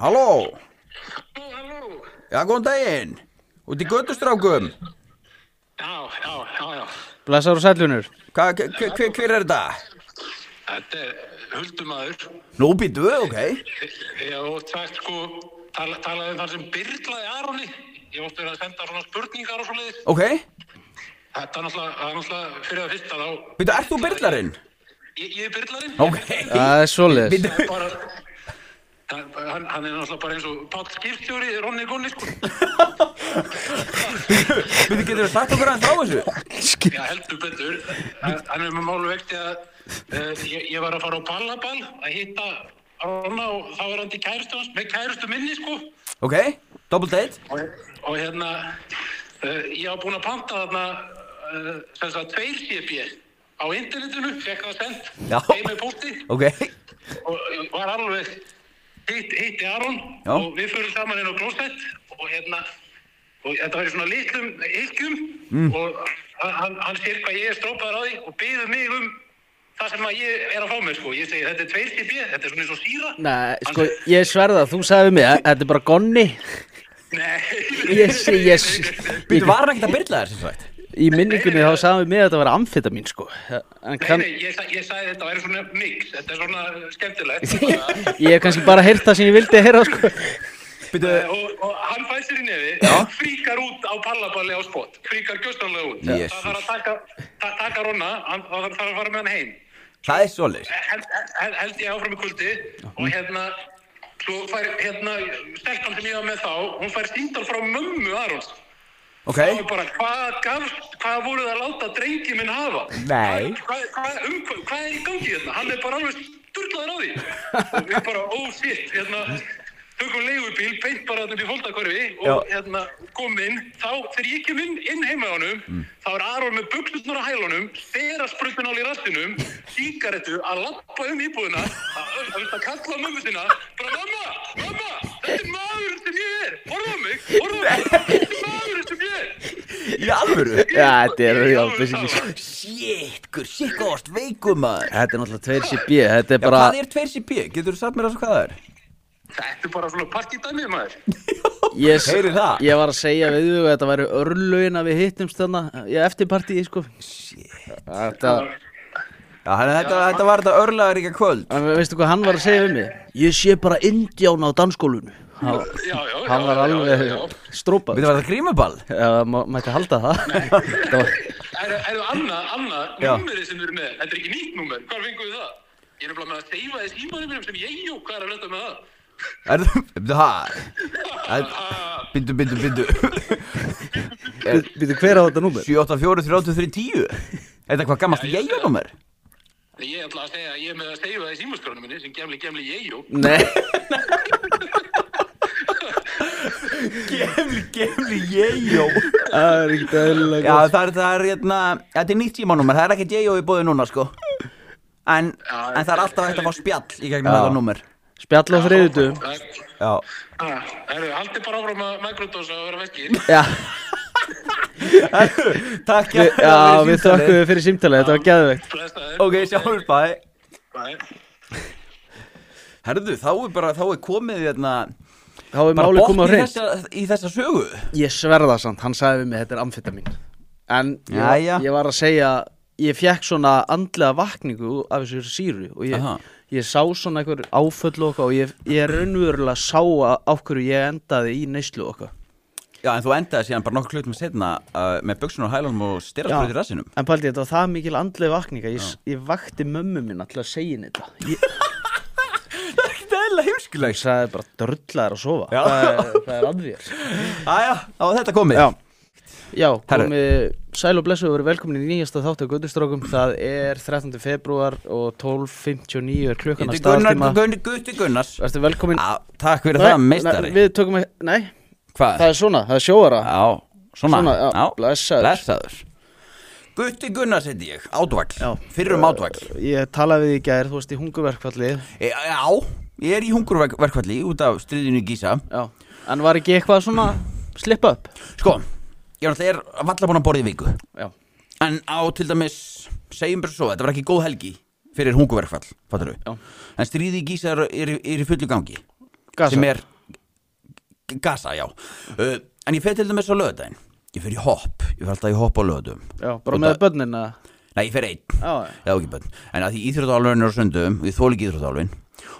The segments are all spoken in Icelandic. Halló, Nú, halló. já, góðan daginn. Út í göttustrákum. Já, já, já, já. Blessar og sælunur. Hva, hver, hver, hver er þetta? Þetta er huldumadur. Nú býtu, ok. Ég átt sagt sko, tala, talaði um þar sem byrlaði Aroni. Ég átt verið að senda svona spurningar og svo leiðis. Ok, Þetta er náttúrulega, það er náttúrulega fyrir að fyrsta þá. býtu, ert þú byrlarinn? Ég, ég er byrlarinn. Ok. Það er svoleiðis. Býtu, Bara, það, hann, hann er náttúrulega bara eins og Páll Skirtjóri, Ronni Gunni sko. býtu, getur þú sagt okkur aðeins frá þessu? Já, heldur betur. Hann hann er með málu vekti að uh, ég, ég var að fara á pallaball að hitta Ronna og þá er hann til kærustu hans, með kærustu minni sko. Ok, double date. og, og hérna uh, ég hafa búin að panta þarna uh, sem sagt tveir CB á internetinu, fekk það sendt Já. heim með púti Ok, og uh, var alveg hitt, hitti Aron Já. og við förum saman inn á klósett og hérna og þetta var í svona litlum ykkum Mm. og hann, hann sér hvað ég er strópaður á því og byður mig um það sem að ég er að fá mér sko ég segi þetta er tveir CB, þetta er svona eins og síra Nei, sko, ég sverða, þú sagði við mig að þetta er bara gonni. Nei Ég sé, ég býtu, sé. var hann ekkert að byrla þér, sem sagt? Í minningunni þá sagði við mig að þetta var amfetamín, sko. En Nei, kann, nei, ég, sa- ég sagði þetta væri svona mix, þetta er svona skemmtilegt. bara. ég hef kannski bara heyrt það sem ég vildi að heyra, sko. Býtu, eh, og, og hann fæði sér í nefi, fríkar út á pallaballi á spott, fríkar gjöstanlega út. Jesus. Það þarf að taka, ta taka Ronna, hann, það þarf að fara með hann heim. það er svoleiðis. Held, held, held ég áfram í kuldi og hérna, svo fær hérna, stelpan sem ég var með þá, hún fær síndal frá mömmu Arons. Ok, Það var bara, hvað gafst, hvað voruð að láta drengi minn hafa? Nei. Hvað, hvað, um, hvað, hvað er í gangi hérna? Hann er bara alveg sturglaður á því. og við bara, oh shit, hérna, tökum leigubíl, beint bara þetta upp í holdakörfi og Já. hérna, kom inn. Þá, þegar ég kem inn, inn heima á honum, Mm. þá er Aron með buksutnur á hælunum, þeirra sprutun í rastinum, síkaretu að lappa um íbúðina, að, að, að, að kalla á mömmu sína, bara, mamma, mamma, þetta er maður sem ég er, horfa á mig, horfa á mig, þetta er maður sem ég er. í alvöru. Já, þetta er já, basically, sko. Shit, gur, shit, góðast, veikum maður. Þetta er náttúrulega tveir sér bíð, þetta er Já, bara... hvað er 2CP? Getur þú sagt mér að hvað það er? Þetta er bara svona partítæmið maður. Ég, s- Heyrið það? ég var að segja við þau að þetta væri örlögin að við hittumst þarna ég, eftir partíi sko þetta, Já, þannig að þetta, þetta var þetta örlaðaríka kvöld. en veistu hvað hann var að segja við mig ég sé bara indján á danskólunu hann, Já, já, já. hann var já, alveg já, já. strópað Býtu, var þetta grímuball? Já, ma- mætti halda það Þetta var, Er það annað, annað, Já. númerið sem við erum með, þetta er ekki nýtt númer, hvar fengum við það? Ég er nefnilega með að seifa þess ímanum mínum sem ég jú, hvað er að leta með það? Er það, býtu, hæ? Býtu, býtu, býtu. Býtu hver á þetta númer? 784-3310? Er þetta hvað gammast Já, ég- ég-nummer? Þegar ég ætla að segja að ég er með að seifa þess ímanskránu minni sem gemli, gemli ég jú. Nei, Gemli, gemli, ég-jó. það er ekkert Já, aðeinslega það er, það er, hérna, þetta er nýtt símanúmer, það er ekkert ég-jó í bóði núna, sko. En, en það er alltaf hægt að fá spjall í gegnum Já. þetta númer. Spjall á þriðutum Það Já. er, haldið bara áfram að mikrodósa og vera veskir. Já, Takk, við, kærlega fyrir já, við símtalið. þökkum við fyrir símtalið, þetta var geðveikt Blessaður. Ok, sjáumst, bye. Bye. Herðu, þá er bara, þá er komið, hérna, Þá er bara málið komið á botn í hreins þessa, í þessa sögu. Ég sverða samt, hann sagði við mig þetta er amfetamin En ég, var- Jæja. ég var að segja Ég fekk svona andlega vakningu af þessu síru Og ég, Aha. ég sá svona einhver áföll okkar Og ég, ég raunverulega sá að- á hverju ég endaði í neyslu okkar Já, en þú endaði síðan bara nokkuð klutum setna uh, með buksunum og hælunum og styrraspröðu í rassinum. En paldi, þetta var það mikil andlega vakninga Ég, ég vakti mömmu mín til að segja henni þetta Ég Þetta er eða heimskulegs. sagði bara dörrlaður að sofa Já. það er, það er að þér Æja, þá var þetta komið. Já, já Herru. komið sæl og blessu og verið velkomin í nýjasta þáttu á Göndustrókum Það er 13. februar og 12.59 er klukkan að Gutti staðstíma Gunnar, Gunni, Gutti Gunnars. Verður velkomin Á, takk fyrir það, meistari. Við tökum ekki, nei, Hvað? það er svona, það er sjóara Já, svona. Svona, já, blessaður. Blessaður. Gutti Gunnars heiti ég, um átvagl. Já. Fyrrum átvagl. Ég talaði við í gær, þú veist í hunguverkfalli E, já, ég er í hungurverkvalli út af stríðinu í Gísa. Já, en var ekki eitthvað svona slip up? Sko, ég er náttúrulega er valla búin að borða í viku. Já, En á til dæmis, segjum bara svo, þetta var ekki góð helgi fyrir hunguverkfall, fattar Já. En stríði í Gísa er, er, er í fullu gangi Gaza. Sem er Gaza, já uh, En ég fer til dæmis á löðdæn Ég fer í hopp, ég fer alltaf í hopp á löðum Já, bara með börnin að Nei, ég fer einn Já, já. Já, ekki bönn En að því íþróttálfurinn er á sundum Ég þóli ekki íþróttálfurinn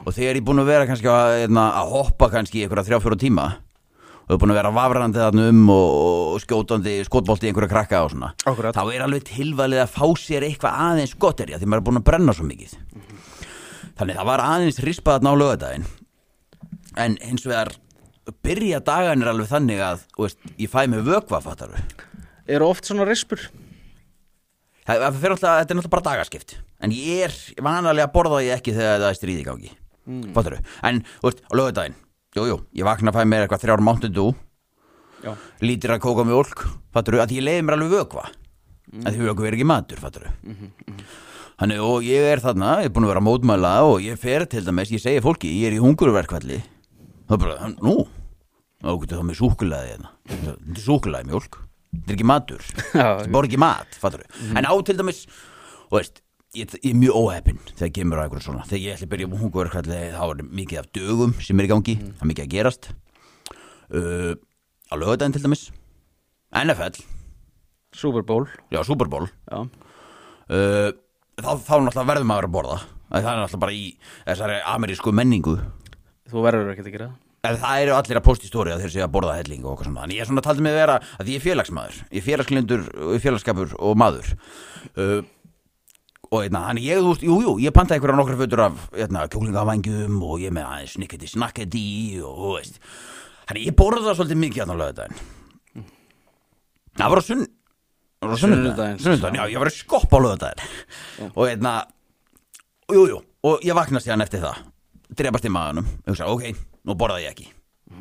Og þegar ég er búin að vera kannski að, hérna, að hoppa kannski í einhverja þrjá fjóra tíma Og ég er búin að vera vafrandi þarna um Og, og skjótandi skotbolti í einhverja krakka og svona Akkúrat. Þá er alveg tilvalið að fá sér eitthvað aðeins gott er ég Því maður er búin að brenna svo mikið Þannig það var aðeins rispaðan á lögadaginn En hins vegar byrja dagarnir alveg þannig að þú veist, ég fæ mig vökva fattaru Eru oft svona rispur? Það það fer alltaf, þetta er náttúrulega bara dagaskipt En ég er, vanalega borða ég ekki þegar það er stríð í gangi mm. Fattur þau, en, þú veist, á lögudaginn Jú, jú, ég vakna að fæ mér eitthvað þrjár Mountain Dew Já. Lítir að kóka mjólk, fattur þau Að ég leiði mér alveg vökva mm. Að því vökva er ekki matur, fattur þau Þannig, og ég er þarna, ég er búin að vera að mótmæla Og ég fer til dæmis, ég segi fólki Ég er í hungurverkvalli Það er bara, nú, þá getur það með súkulaði hérna. Þetta er súkulaði mjólk Þetta er ekki matur Já. Þetta borgi mat, fattur En á til dæmis, og veist Ég, ég er mjög óheppinn þegar kemur á einhverju svona Þegar ég ætla að byrja um hungurverkvalli Þá er mikið af dögum sem er í gangi Það er mikið að gerast uh, Á lögudaginn til dæmis NFL, Super Bowl já Super Bowl Já, uh, þá, þá náttúrulega verður maður að borða Að það er náttúrulega bara í þessari amerísku menningu þú verður ekkert að gera það. en það eru allir að posta í stóri að þeir séu að borða helling og okkar svona en ég er svona taldi mig að vera að ég er félagsmaður ég er félagslindur, félagskapur og maður uh, og einna, hann ég, þú veist, jú, jú, ég pantaði einhverja nokkra fötur af einna, kjúklingavængjum og ég með aðeins snikketi snakketi og þú veist hann ég borða svolítið mikið hann á lögudaginn það var á sunn það var á Sunnudaginn, sunnudaginn sunnudaginn, já, ég var að skoppa á lögudaginn og einna, Jú, jú, og ég vakna síðan eftir það Drepast í maðanum Hugsa, ok, nú borða ég ekki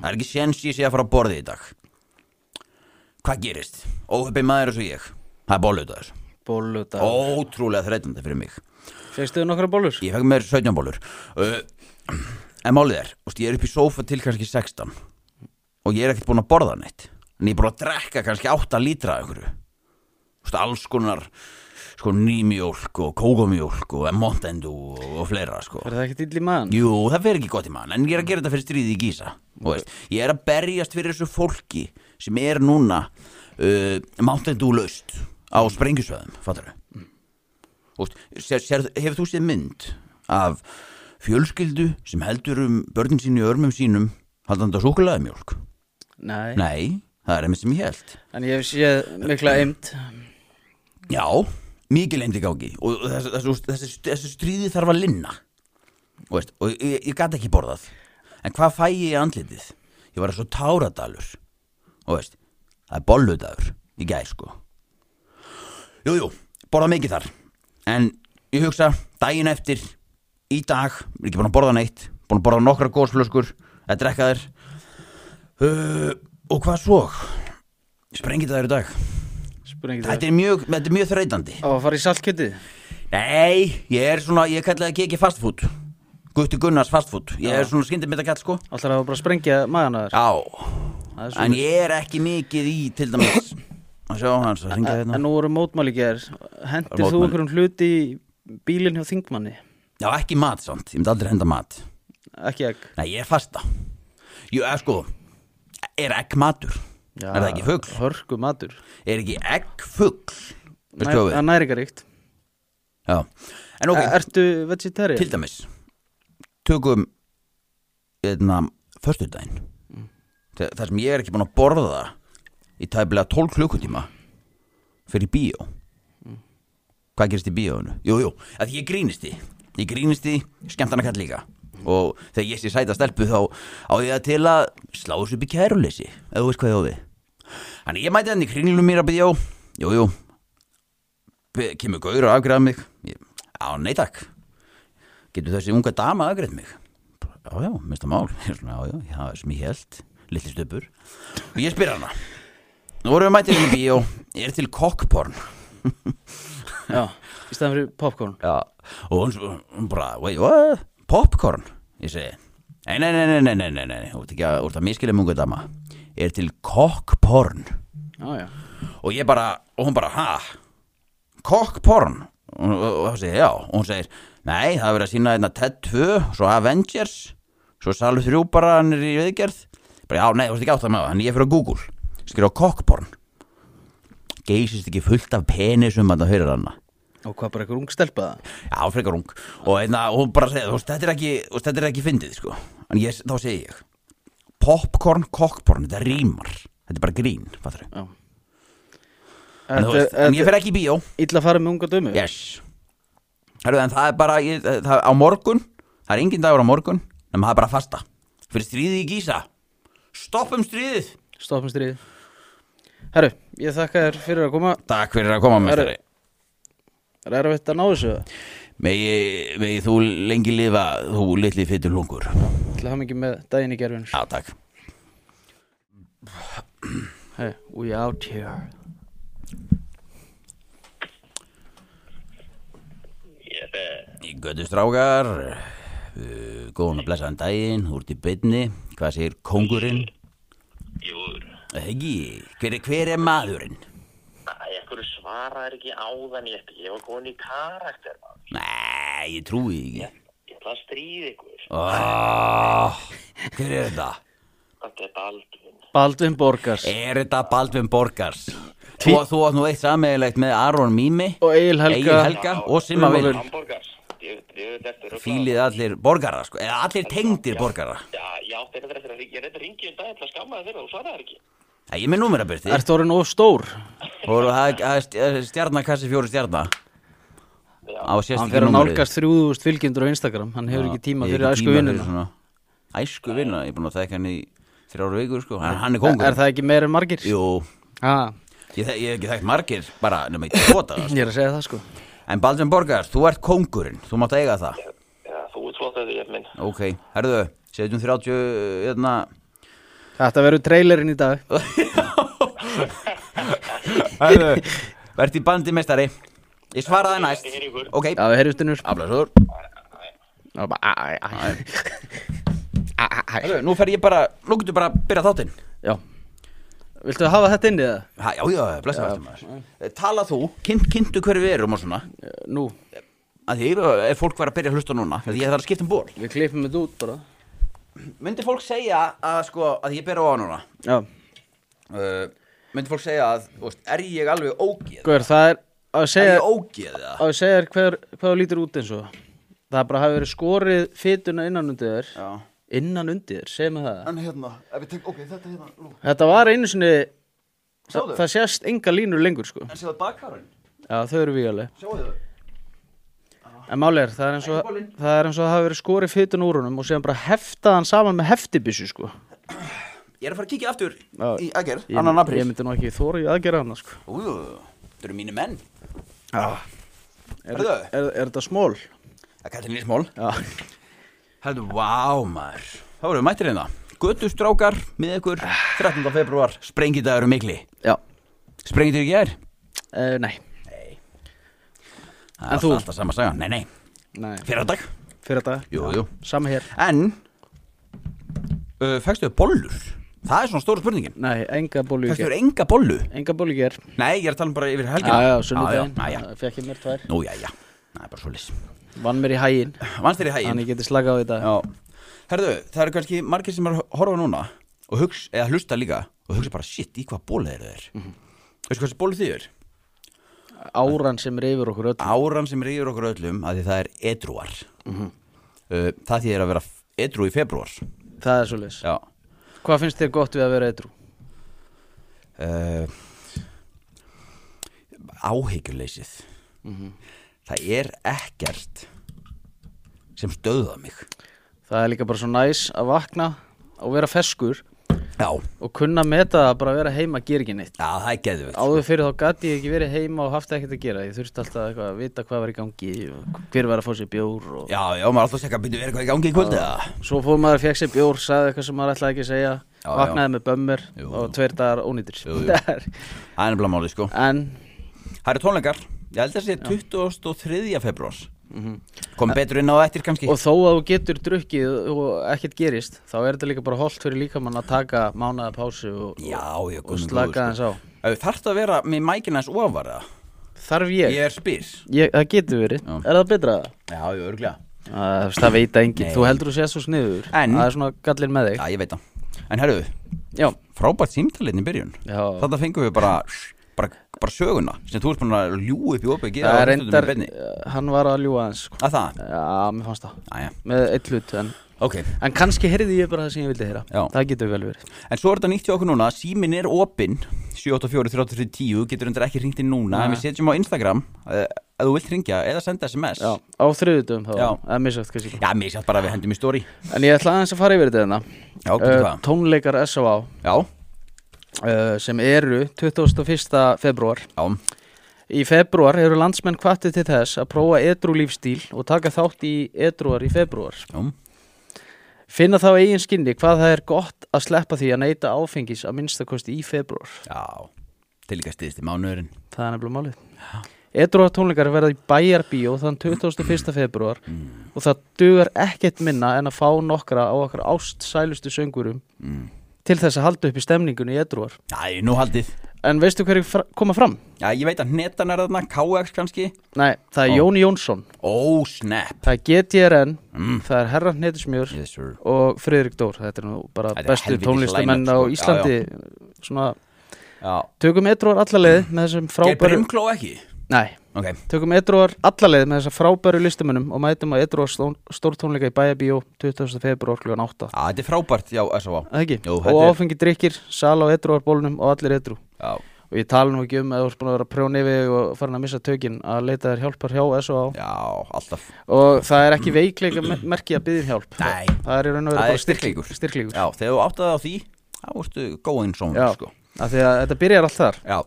Það er ekki séns ég sé að fara að borða í dag Hvað gerist? Óhöppi maður eins og ég Það er bólutaður Bóludag oh. Ótrúlega þreytandi fyrir mig Feistu nokkra bólur? Ég fekk mér 17 bólur uh, En málið er, úst, ég er upp í sófa til kannski 16 Og ég er ekkert búin að borða neitt En ég er búin að drekka kannski 8 lítra af einhverju úst, Alls konar sko, nýmjólk og kókomjólk og montendu og, og fleira sko. Er það ekkert ill í maðan? Jú, það fer ekki gott í mann En ég er að gera þetta fyrir stríði í Gísa okay. veist, Ég er að berjast fyrir þessu fólki sem er núna uh, máttendu laust á sprengjusvæðum fattar mm. sér, sér, Hefur þú séð mynd af fjölskyldu sem heldur um börnin sín í örmum sínum haldandi á súkulaði mjólk Nei. Nei, það er einmitt sem ég held En ég hef séð mikla eimt Já, mikið lendi gangi og þessu, þessu, þessu, þessu stríði þarf að linna og, veist, og ég, ég gat ekki borðað en hvað fæ ég í andlitið? Ég var svo táradalur og veist, það er bolludagur í gæð sko Jú, jú, borða mikið þar en ég hugsa, daginn eftir í dag, ég er ekki búin að borða neitt búin að borða nokkra gósflöskur að drekka þér uh, og hvað svo? Sprengið það í dag Spurningi Þetta það er mjög, þetta er mjög þreytandi Á að fara í saltkjötið? Nei, ég er svona, ég kallaði ekki ekki fast food Gutti Gunnars fast food Ég er svona skyndið mitt að kalla sko Alltaf að bara sprengja maðan að þér Já, Það er en svoleiðis. ég er ekki mikið í til dæmis Að sjá hans að ringa En hérna nú voru mótmæli ger Hendir þú mótmæli. einhverjum hluti í bílinn hjá þingmanni? Já, ekki mat samt, ég myndi aldrei henda mat Ekki ekki Nei, ég er fasta Jú, er sko, er egg matur? er það ekki fugl? Hörku matur Er ekki egg fugl? Veistu hvað Nær- við? Það næringaríkt Já, en ok, Ertu vegetarian? til dæmis tökum eðna, föstudaginn Þa- þar sem ég er ekki búin að borða í tæpilega 12 klukkutíma fyrir bíó Mm. hvað gerist í bíóinu? Jú, jú, að því ég grínist því ég grínist því, skemmtana kall líka og þegar ég sé sæta stelpu þá á ég það til að slá þessu upp í kæruleysi ef þú veist hvað ég á við Þannig ég mæti henni í kringlum mér að bíó Jú, jú Be- Kemur gaur og afgræða mig ég, Já, nei takk Getur þessi unga dama afgræð mig Bara, Já, já, minnsta mál Ég svona, Já, já, já, það er sem ég held Lilli stöpur Og ég spyr hana Nú vorum við mætið henni í bíó Er til kokkporn Já, í staðan fyrir popcorn Já Og hún, svo- hún bara, wait, what? Popcorn Ég segi Nei, nei, nei, nei, nei, nei, nei, nei Þú ert ekki að, þú ert að miskilja munga dama Er til kokkporn Já, já og ég bara, og hún bara, ha kokkporn og, og, og það segir, já, og hún segir nei, það er hérna verið að sína þetta TED 2, svo Avengers svo Salu 3 bara hann er í viðgerð Bara, bara, já, nei, þú veist ekki átt að með það Þannig ég fyrir á Google Skrifa kokkporn Geysist ekki fullt af penisum að það hörir hana Og hvað bara einhver ung stelpa það? Já, frekar ung Og einna, hún bara segir, þú veist, þetta er ekki þú veist, Þetta er ekki fyndið, sko En ég, þá segi ég Popcorn, kokkporn, þetta rýmar Þetta er bara grín, fattur Já En, þú veist, en ég fer ekki í bíó Ítla að fara með unga dömu Yes Herru, en það er bara ég, það, Á morgun, það er engin dagur á morgun Nefnum það er bara fasta Fyrir stríðið í Gísa Stoppum stríðið Stoppum stríð Herru, ég þakka þér fyrir að koma Takk fyrir að koma með Herru. Er erfitt að ná þessu? megi, megi þú lengi lifa Þú litli fytur lungur Já, Til að hafa mikið með daginn í gerfinu takk Hey, we out here Í götu strákar uh, Góðan að blessaðan daginn Þú ert í beinni Hvað segir kongurinn? Jú, Eh, Ekki, hver er, hver er maðurinn? næ, ekkur svaraðir ekki áðan ég eftir, ég var komin í karakter, maður. Nei, ég trúi því ekki Ég ætla að stríða ykkur. oh, Hver er þetta? Þetta er Baldvin. Baldvin Borgars Er þetta Baldvin Borgars? Þú, þú átt nú eitt sammeðilegt með Aron Mimi Og Egil Helga. Egil Helga og Simma Vil Vilhjálmsson. Hamburgers. Ég ég veit eftir. Fílið allir borgara sko, eða allir tengdir borgara Já, ég átti eitthvað eftir að ég reyndi ringi um dag, ég ætla að skamma þig fyrir það, þú svaraðir ekki. Það er ég með númerabyrti Ertu orðin of stór? og það er- það er stj- stjarnakassi fjóru stjarna á sérst Hann fyrir að nálgast 3000 fylgjendur á Instagram Hann hefur ekki tíma fyrir æsku vinnuna Æsku vinnuna, ég er búin að þekka hann í þrjára vikur sko, hann, hann er Er kongur er það ekki meira en margir? Jú, Ha, ég, þek- ég hef ekki þekkt margir bara nema í kvota ég er að segja það sko En Baldvin Borgars, þú ert kongurinn, þú mátt eiga það Já, þú ert flottaðið, ég minn. Ok, herðu, setjum 30 hérna Þetta verður trailerinn í dag Herðu, verði bandi mestari Ég svaraði næst Ok, Já, við heyrjumstunur aflæsur Já Herðu, nú fer ég bara, nú getur bara að byrja þáttinn Viltu hafa þetta inn í það? Ha, Já, já, blessa vartum maður Tala þú, kynnt, kynntu hverju við erum og svona Eh, Nú, Að því ef- ef fólk var að byrja að hlusta núna Því ég þarf að skipta um ból við klippum þetta út bara Myndi fólk segja að sko, að ég byrja á núna Já, uh, Myndi fólk segja að, þú veist, er ég alveg ógeð? Guður, það er að Er segja ég ógeð það? að segja þér hver, hvað þú lítur út eins og það bara hafi verið skorið fytuna innan undir þér Já innan undir þér, segjum við það En hérna, ef ég tek, ok, þetta hérna, nú þetta var einu sinni það, Sjáðu. það sést enga línur lengur sko En séu það bakhárun, já þau eru vígaleg sjáu þau en máli er það er eins og það er eins og það hafi verið skorið fytuna úr honum og séðan bara heftað hann saman með heftibissu sko Ég er að fara að kíkja aftur Já. í aðgerð, ég, annan apríl ég myndi nú ekki þóra í aðgera hann sko Ú, þetta eru mínu menn er, Herðu. er, er, þetta smól? Það kallar nýr smól já Hættu, vá maður Þá erum við mættir hérna Götu strákar með ykkur 13. februar Sprengidagur um mikli já Sprengidagur ekki er uh, nei Það er alltaf, þú? alltaf sama saga Nei, nei nei Fyrir dag fyrir þetta Jú, jú sama hér En uh, Fækstu þau bollur? Það er svona stóra spurningin nei enga bólu í Fækstu ger þau enga bollu? enga bólu í ger Nei, ég er að tala um bara yfir helgina Já, já, Já, já, sunnudaginn, já, já. fekk ég mér tvær Nú, já, já Það er bara svo Vann mér í hægin, Vannst þér í hæginn? þannig ég geti slakað á þetta Já, herðu, það eru kannski margir sem er að horfa núna og hugsa, eða hlusta líka og hugsa bara, shit, í hvað bólið eru þeir? Veistu hvað þessi bólið þið er? Áran sem er yfir okkur öll Áran sem rýður okkur öllum að því það er edruar uh, Það því er að vera f- edru í februar Það er svolítið Já Hvað finnst þér gott við að vera eitrú? uh, Áhyggjuleysið Mhm. Það er ekkert sem stöða mig Það er líka bara svo næs að vakna og vera feskur Já, og kunna meta að bara vera heima gera ekki neitt já það er geðvitt Áður fyrir þá gati ég ekki verið heima og haft ekkert að gera Ég þurfti alltaf eitthvað að vita hvað var í gangi og hver var að fá sér bjór og... Já, já, maður er alltaf að segja, býttu, er eitthvað í gangi í kvöld eða? Svo fór maður að fekk sér bjór, sagði eitthvað sem maður ætlaði ekki að segja Já, Vaknaði með bömmur Jú, og tveir dagar ónýtir Jú, jú. Það er- Það er nefnilega málið, sko En Það eru tónleikar, ég held að það sé 23. februar Kom betur inn á það eftir kannski Mhm. og þó að þú getur drukkið og ekkert gerist þá er þetta líka bara holdt fyrir líkamann að taka mánaða pásu og, Já, já, og slaka aðeins á sko. Þarftu að vera með mækina eins ofar eða? þarf ég, Ég er spyr Ég, það getur verið Já. er það betra það? Já, ég örglega Það, það veit enginn, Nei. þú heldur þú séð svo sniður En- það er svona gallin með þig Já, ég veit það En herru, Já, frábært símtalinn í byrjun Já. Þetta fengum við bara, bara, bara söguna sem þú ert búin að ljúga upp í opið það er reyndar Hann var að ljúa aðeins sko. Að það? Já, mér fannst það Æja, Með eitt hlut en, ok en kannski heyrði ég bara það sem ég vildi heyra Já. Það getur vel verið En svo er þetta nýtt hjá okkur núna, símin er opinn 784-3310, getur undir ekki hringt inn núna En við setjum á Instagram eh, ef þú vilt hringja eða senda SMS Já, á þriðutum þá Já. Eða misjátt kannski Já, mér sér bara að við hendum í stóri En ég ætla aðeins að fara yfir þetta hérna. Já, getur hvað? Tónleikar S.O.A. Já, Uh, sem eru 21. februar já, Í februar eru landsmenn kvattið til þess að prófa edru lífstíl og taka þátt í edruar í februar já Finna þá eigin skinni hvað það er gott að sleppa því að neyta áfengis að minnstakosti í februar Já, til líka stiðist í mánuðurinn Það er nefnilega málið Edruar tónleikar verða í bæjarbíó þann 21. februar og það dugar ekkert minna en að fá nokkra á okkar ást sælustu söngurum til þess að halda upp í stemningunni í edruar Já, nú haldið En veistu hverju fra koma fram? Já, ég veit að hnetan er þarna, KX kannski Nei, það er Ó. Jón Jónsson Ó, snap Það er GTRN, Mm. það er Herra Hnetusmjör Yes, sir og Friðrik Dór Þetta er nú bara Þetta er bestu helvítis tónlistamenn á lineup, sko. Já, Íslandi Svona, Já tökum edruar allaleið með þessum Geir frábæru Brimkló ekki? Nei, Ok, Tökum edruar allaleið með þessa frábæru listamönnum og mætum á edruar stórtónleika í Bæjabíó 20. februar kl. 8. Já, þetta er frábært, já, S.A.V. Það ekki? Jú, og þetta er, áfengi drikkir, sal á edruarbólnum og allir edru. já, Og ég tala nú ekki um að þú ert búin að vera að prjóna yfir og farin að missa tökin að leita þér hjálpar hjá S.O.A. já, alltaf Og það er ekki veikleika me- merki að byggja um hjálp. Nei. Það er í raun Það og veru er bara styrklíkur. styrkleikur. Styrklíkur. Já, þegar þú áttaði á því, þá ertu góðinn svona, sko Af því að þetta byrjar allt þar. Já,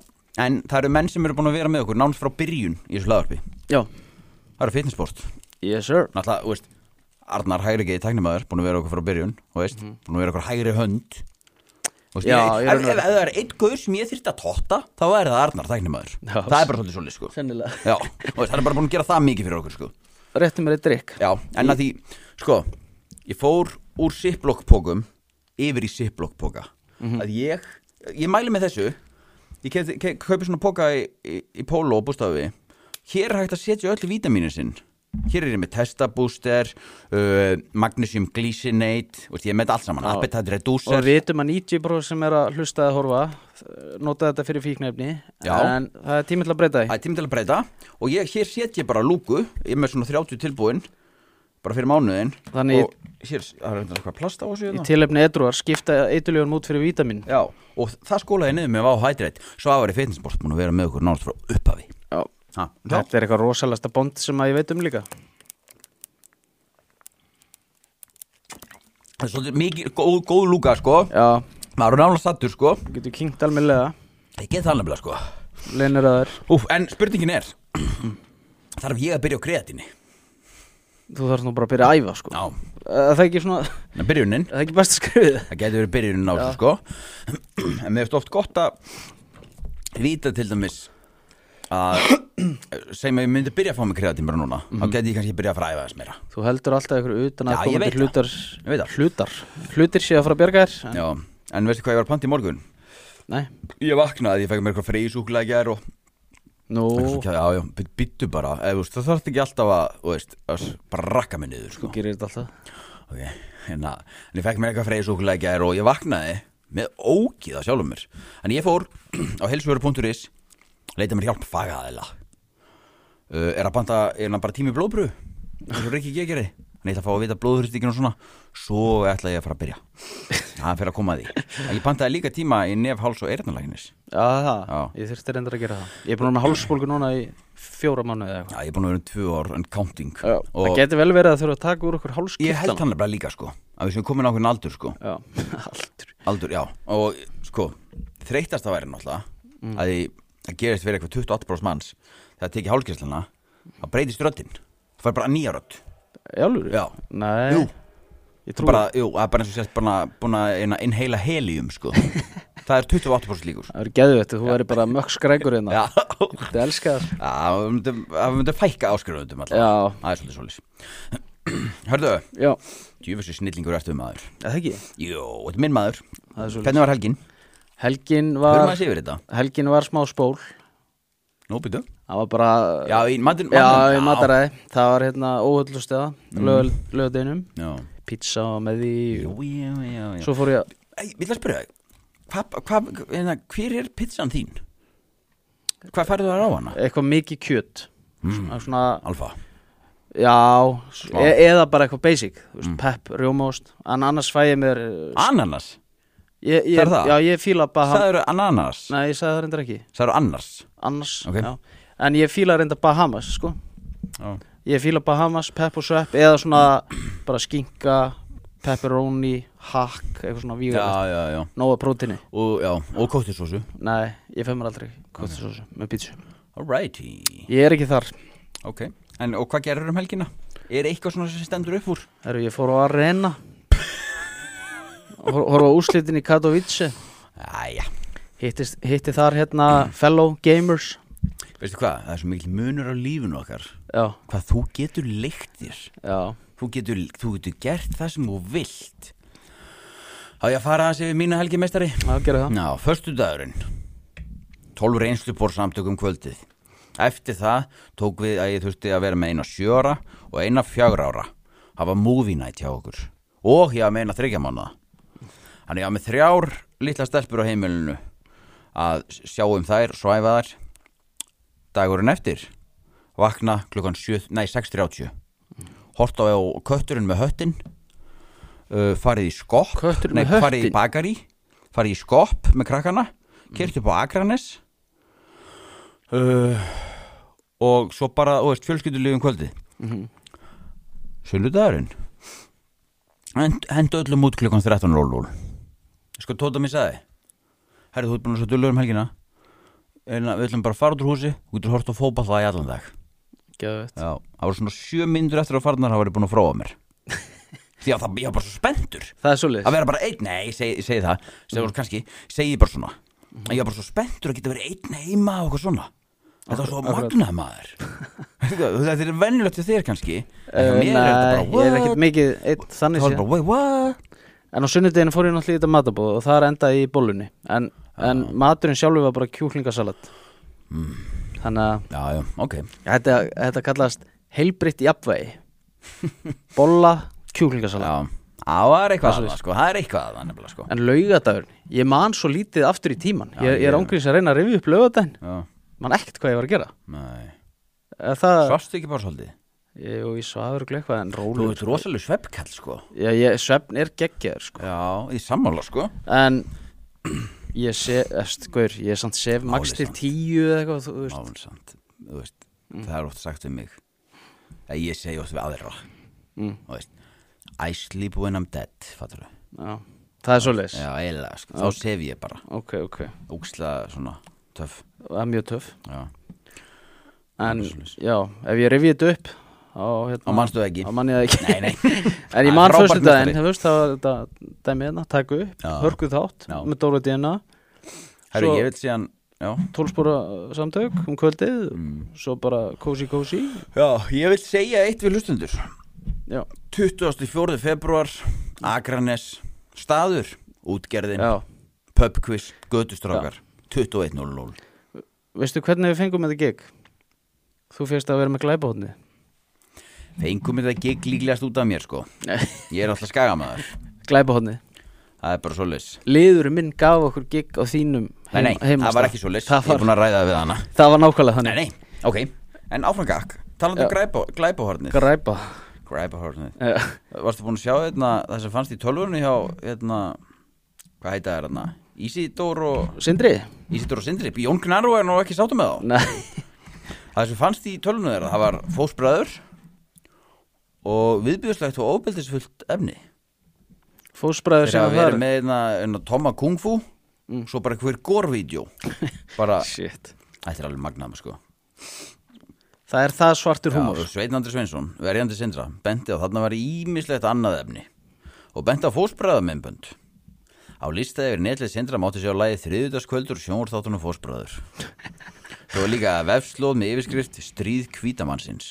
en það eru menn sem eru búin að vera með okkur nánast frá byrjun í þessu lagarpi Já. Það eru fitnessport Yes sir. Náttúrulega, þú veist, Arnar hægri geði tæknimaður, búin að vera okkur frá byrjun þú veist, búin að vera okkur hægri hönd Þú veist, Mhm. Já, ég, ég ef, raun og ef, ef það er einn guður sem ég þyrfti að totta þá er það Arnar tæknimaður Já. Það er bara svolítið svolítið sko Sennilega. Já, þú veist, hann er bara búin að gera það mikið fyrir okkur sko Rétti mér eitt drikk. Já, en að því, sko Ég fór úr ziplockpókum Yfir í ziplockpóka mm Mhm. Að ég, ég mæli með þessu Ég kef- ke- kaupi svona póka í, í, í póló og bústafi Hér er hægt að setja öll vítamínu sinn Hér er ég með testabúster uh, Magnesium glycinate Vist, Ég er með þetta allt saman, appetite Og reducer við vitum að 90% sem er að hlusta að horfa eh, nota þetta fyrir fíknefni Já. en það er tími til að breyta Það því er tími til að breyta Og ég, hér set ég bara lúku Ég er með svona 30 tilbúin Bara fyrir mánuðin Þannig- Og hér, það er reyndar eitthvað plast á þessu Í hérna? tilefni edruar skipta eituljóðum út fyrir vítamin Já, og það skólaði niður með váhætrætt Svo að var í fitnessport búin að vera með okkur náttúrulega frá upphafi Já. ha, já. Þetta er eitthvað rosalasta bond sem að ég veit um líka Það er svolítið mikið, góð, góð lúka sko Já, Maður er nála sattur sko þú getur kynkt almennilega Ég get það nefnilega sko Leinir að þær Úf, en spurningin er Þarf ég að byrja á kreatinni? Þú þarfst nú bara að byrja að æfa sko Já, Er Það er ekki svona, en byrjunin er það er ekki best að skrifa Það getur verið byrjunin á þessu sko En mér finnst oft gott að Víta til dæmis að Segjum að ég myndi byrja að fá mig kreatin bara núna Þá geti ég kannski byrja að fræða þess meira Þú heldur alltaf ykkur utan Já, að ég koma veit til hlutar Ég veit það. Hlutar Hlutir sé að fara að bjarga þér en- Já, en veistu hvað ég var að panta í morgun? Nei, Ég vaknaði, ég fekk mér eitthvað freysúkulega gær og nú Svo kæ- Já, já, byttu bara eða, þú veist, Það þarf ekki alltaf að, þú veist, að s- bara rakka mig niður sko. Gerir þetta alltaf Ok, hérna, en ég fekk mér eitthvað freysúkulega gær og ég vaknaði með ógið á sjálfum mér En ég fór á helsveru.is leita mér hjálp fagaðila uh, Er að banta, er hann bara tími blóðbru eins og Rikki G gerði Þannig ég ætla að fá að vita blóðhrýstingin og svona Svo ætla ég að fara að byrja Það fyrir að koma að því En Ég pantaði líka tíma í nef, háls og eyrnalæknis Já, það, Já. ég þurfti reyndar að gera það Ég er búin að með hálsbólgu núna í fjóra mánuði eða eitthvað Já, ég er búin að vera um tvö ár en counting Já, Og- það getur vel verið að þurfa að taka úr okkur hálskirtana Ég held hann bara líka sko að við séum komin á hvernig aldur sko Já, aldur aldur, já, og sko þreytast að væri náttúrulega Mm. að því að gerist fyrir eitthvað 28 manns þegar tekið hálfkesslana það breytist röddinn, það fær bara nýja rödd Í alvöru? Já. Nei Jú. Ég trú bara, jú, það er bara eins og sérst bara búin að eina- inhala helium sko það er 28 líkur sko. Það verður geðvett, þú verður bara mökk skrækur hérna Já, Þetta elska það það myndi það myndi fækka áskrifundum alltaf Já. Það er svolítið svolítið Hörðu, Já, djúfessu snillingur ertu maður eða ekki Jó, þetta er minn maður Það er svolítið. Ah. Hvernig var helgin? Helgin Hörðu var, maður sér yfir þetta? helgin var smá spól Nú, býttu Það var bara Já, í matin, já, í mataræði Það var hérna óhullustuða mm. Lögadeinum Já, Pizza var með því já, já, já, já. Svo fór ég Ei, vil að spyrja hvað, hvað, hérna, hver er pizzan þín? Hvað færðu þar á hana? eitthvað mikið kjöt mm. svona, Alfa já, Smá. Mm. e eða bara eitthvað basic þú veist, pepp, rjómaost, en annars fæ ég mér eh, Ananas ég, ég, sagðirðu það? já, ég fíla Baham Sæður ananas nei, ég sagði það reyndar ekki, Sæður annars annars Ok. já. en ég fíla reyndar Bahamas, sko Já. ég fíla Bahamas, pepp og svepp eða svona bara skinka pepperoni, hakk, eitthvað svona Já, vígulegt, já, já nóga prótíni Og, já, og kóttisósu nei, ég fæ mér aldrei kostasósu með pítsu, Alrighty ég er ekki þar Ok, en og hvað gerir um helgina? Er eitthvað svona sem stendur upp úr? Herru, ég fór á Arena Hor- Horfa á úrslitin í Katowice Æja, Hittist, Hitti þar hérna fellow gamers veistu hvað? Það er svo mikil munur á lífinu okkar Já, Hvað þú getur leikt þér já, þú getur, þú getur gert það sem þú vilt Há ég að fara aðeins yfir mína helgi meistari? það gerir það Ná, föstu dagurinn 12 reynslubor samtökum um kvöldið Eftir það tók við að ég þurfti að vera með eina sjöra og eina fjögra ára hafa movie night hjá okkur og ég hafa með eina þryggja mánuða Þannig ég hafa með þrjár litla stelpur á heimilinu að sjá um þær, svæfa þær dagurinn eftir vakna klukkan 7, nei 6.30 hort á kötturinn með höttin uh, farið í skopp Kötturinn nei, með farið í höttinn? bakari farið í skopp með krakkana kert upp á Akranes uh, og svo bara, þú veist, fjölskyldulegum kvöldið Mhm. sunnudagurinn Hend- hendu öllum út klukkan 13.00 sko tóta mér sagði herri þú ert búin að svo dullur um helgina en við ætlum bara að fara út úr húsi þú getur hort að fópa það í allan dag Geðvett Já, það voru svona sjö myndur eftir að farnar hafa verið búin að fróa mér Því að það, ég var bara svo spenntur Það er svoleiðis Að vera bara einn, nei, ég segi, ég segi það segi, mm. kannski, segi bara svona Mm. Ég var bara svo spenntur að geta verið einn heima og eitthvað svona Þetta var svo magnað maður Þetta er venjulegt til þér kannski En Eh, uh, mér er þetta bara, Nei, ég er ekkert mikið einn Það þannig var sé bara, wait, what? En á sunnudeginu fór ég náttúrulega í þetta matabóð og það er endaði ég í bólunni En, Ah. en maturinn sjálfur var bara kjúklingasalat Mm. Þannig að Já, já, ok þetta, þetta kallast heilbritt jafnvægi Bolla, kjúklingasalat Já, það var eitthvað að það, sko Það er eitthvað að það nefnilega, sko En laugadagurinn, ég man svo lítið aftur í tíman Ég, ég er ég- ángriðis að reyna að rifja upp laugadaginn Já, Man ekkert hvað ég var að gera nei Eh, Það, Svarstu ekki bara svolítið? ég, og ég svafur og eitthvað en Þú rólu ert rosalega sveppkall, sko Já, ég, svefn er geggjaður sko Já, í sammála, sko En ég sé, eftir, guður, ég samt sef max Málið til samt. tíu eða eitthvað, þú veist Málsamt, þú veist Það er oft sagt um mig að ég segi oft við aðra Mm. Þú veist I sleep when I'm dead, fattur þau Já, það er svoleiðis Já, eiginlega, sko, þá sef ég bara Ok, ok, Úksla svona, töff það er mjög töff Já, En, Það er svoleiðis. já, ef ég rifja þetta upp Á, hérna, Þá manstu það ekki. Á manni það ekki Nei, nei. En Það er ég man frábært fyrstu daginn, meistari. það veist, það var þetta dæmi hérna, takku upp, Já. hörku þátt Já. með Dóra Díana herru, Svo- ég vil síðan Já, tólspóra samtök um kvöldið Mm. svo bara cozy cozy já ég vil segja eitt við hlustundur Já, 24. februar Akranes, staður útgerðin, já. pubquiz gödustrákar, 21.00 Veistu hvernig við fengum þetta gig? Þú fyrst að vera með glæbahotni Fengum þetta gig líklegast út af mér, sko Ég er alltaf skagamæður Glæbahotni Það er bara svoleiðis Liðurinn minn gaf okkur gig á þínum Nei, nei, það var ekki svo list það Ég er var, búin að ræða það við hana það var nákvæmlega Nei, þannig nei, ok En áfram gakk Talandi Já. um græpa- glæpahornið Græpa Græpahornið Já. Varstu búin að sjá hérna, það sem fannst í tölvunni hjá hérna, Hvað heita það hérna? Ísidór og Sindri? Ísidór og Sindri Jón Gnarú er nú ekki sátum með Nei þá Það sem fannst í tölvunni þeirra Það var fósbræður Og viðbjöðslegt og óbeldisfullt efni Fósbræður Þeir sem hafa að verið Mm. það með hérna, hérna, Toma Kung Fu Svo bara hver gorvídjó Bara, Shit þetta er alveg magnað sko Það er það svartur húmor Já, Sveinn Andri Sveinsson, verjandi sindra, benti á þarna var ímislegt annað efni og benti á fósbræðamembönd. Á listaði yfir netlið sindra mátti sjá lagið þriðutaskvöldur sjónvarþáttunum fósbræður. Svo var líka vefslóð með yfirskrift stríð kvítamannsins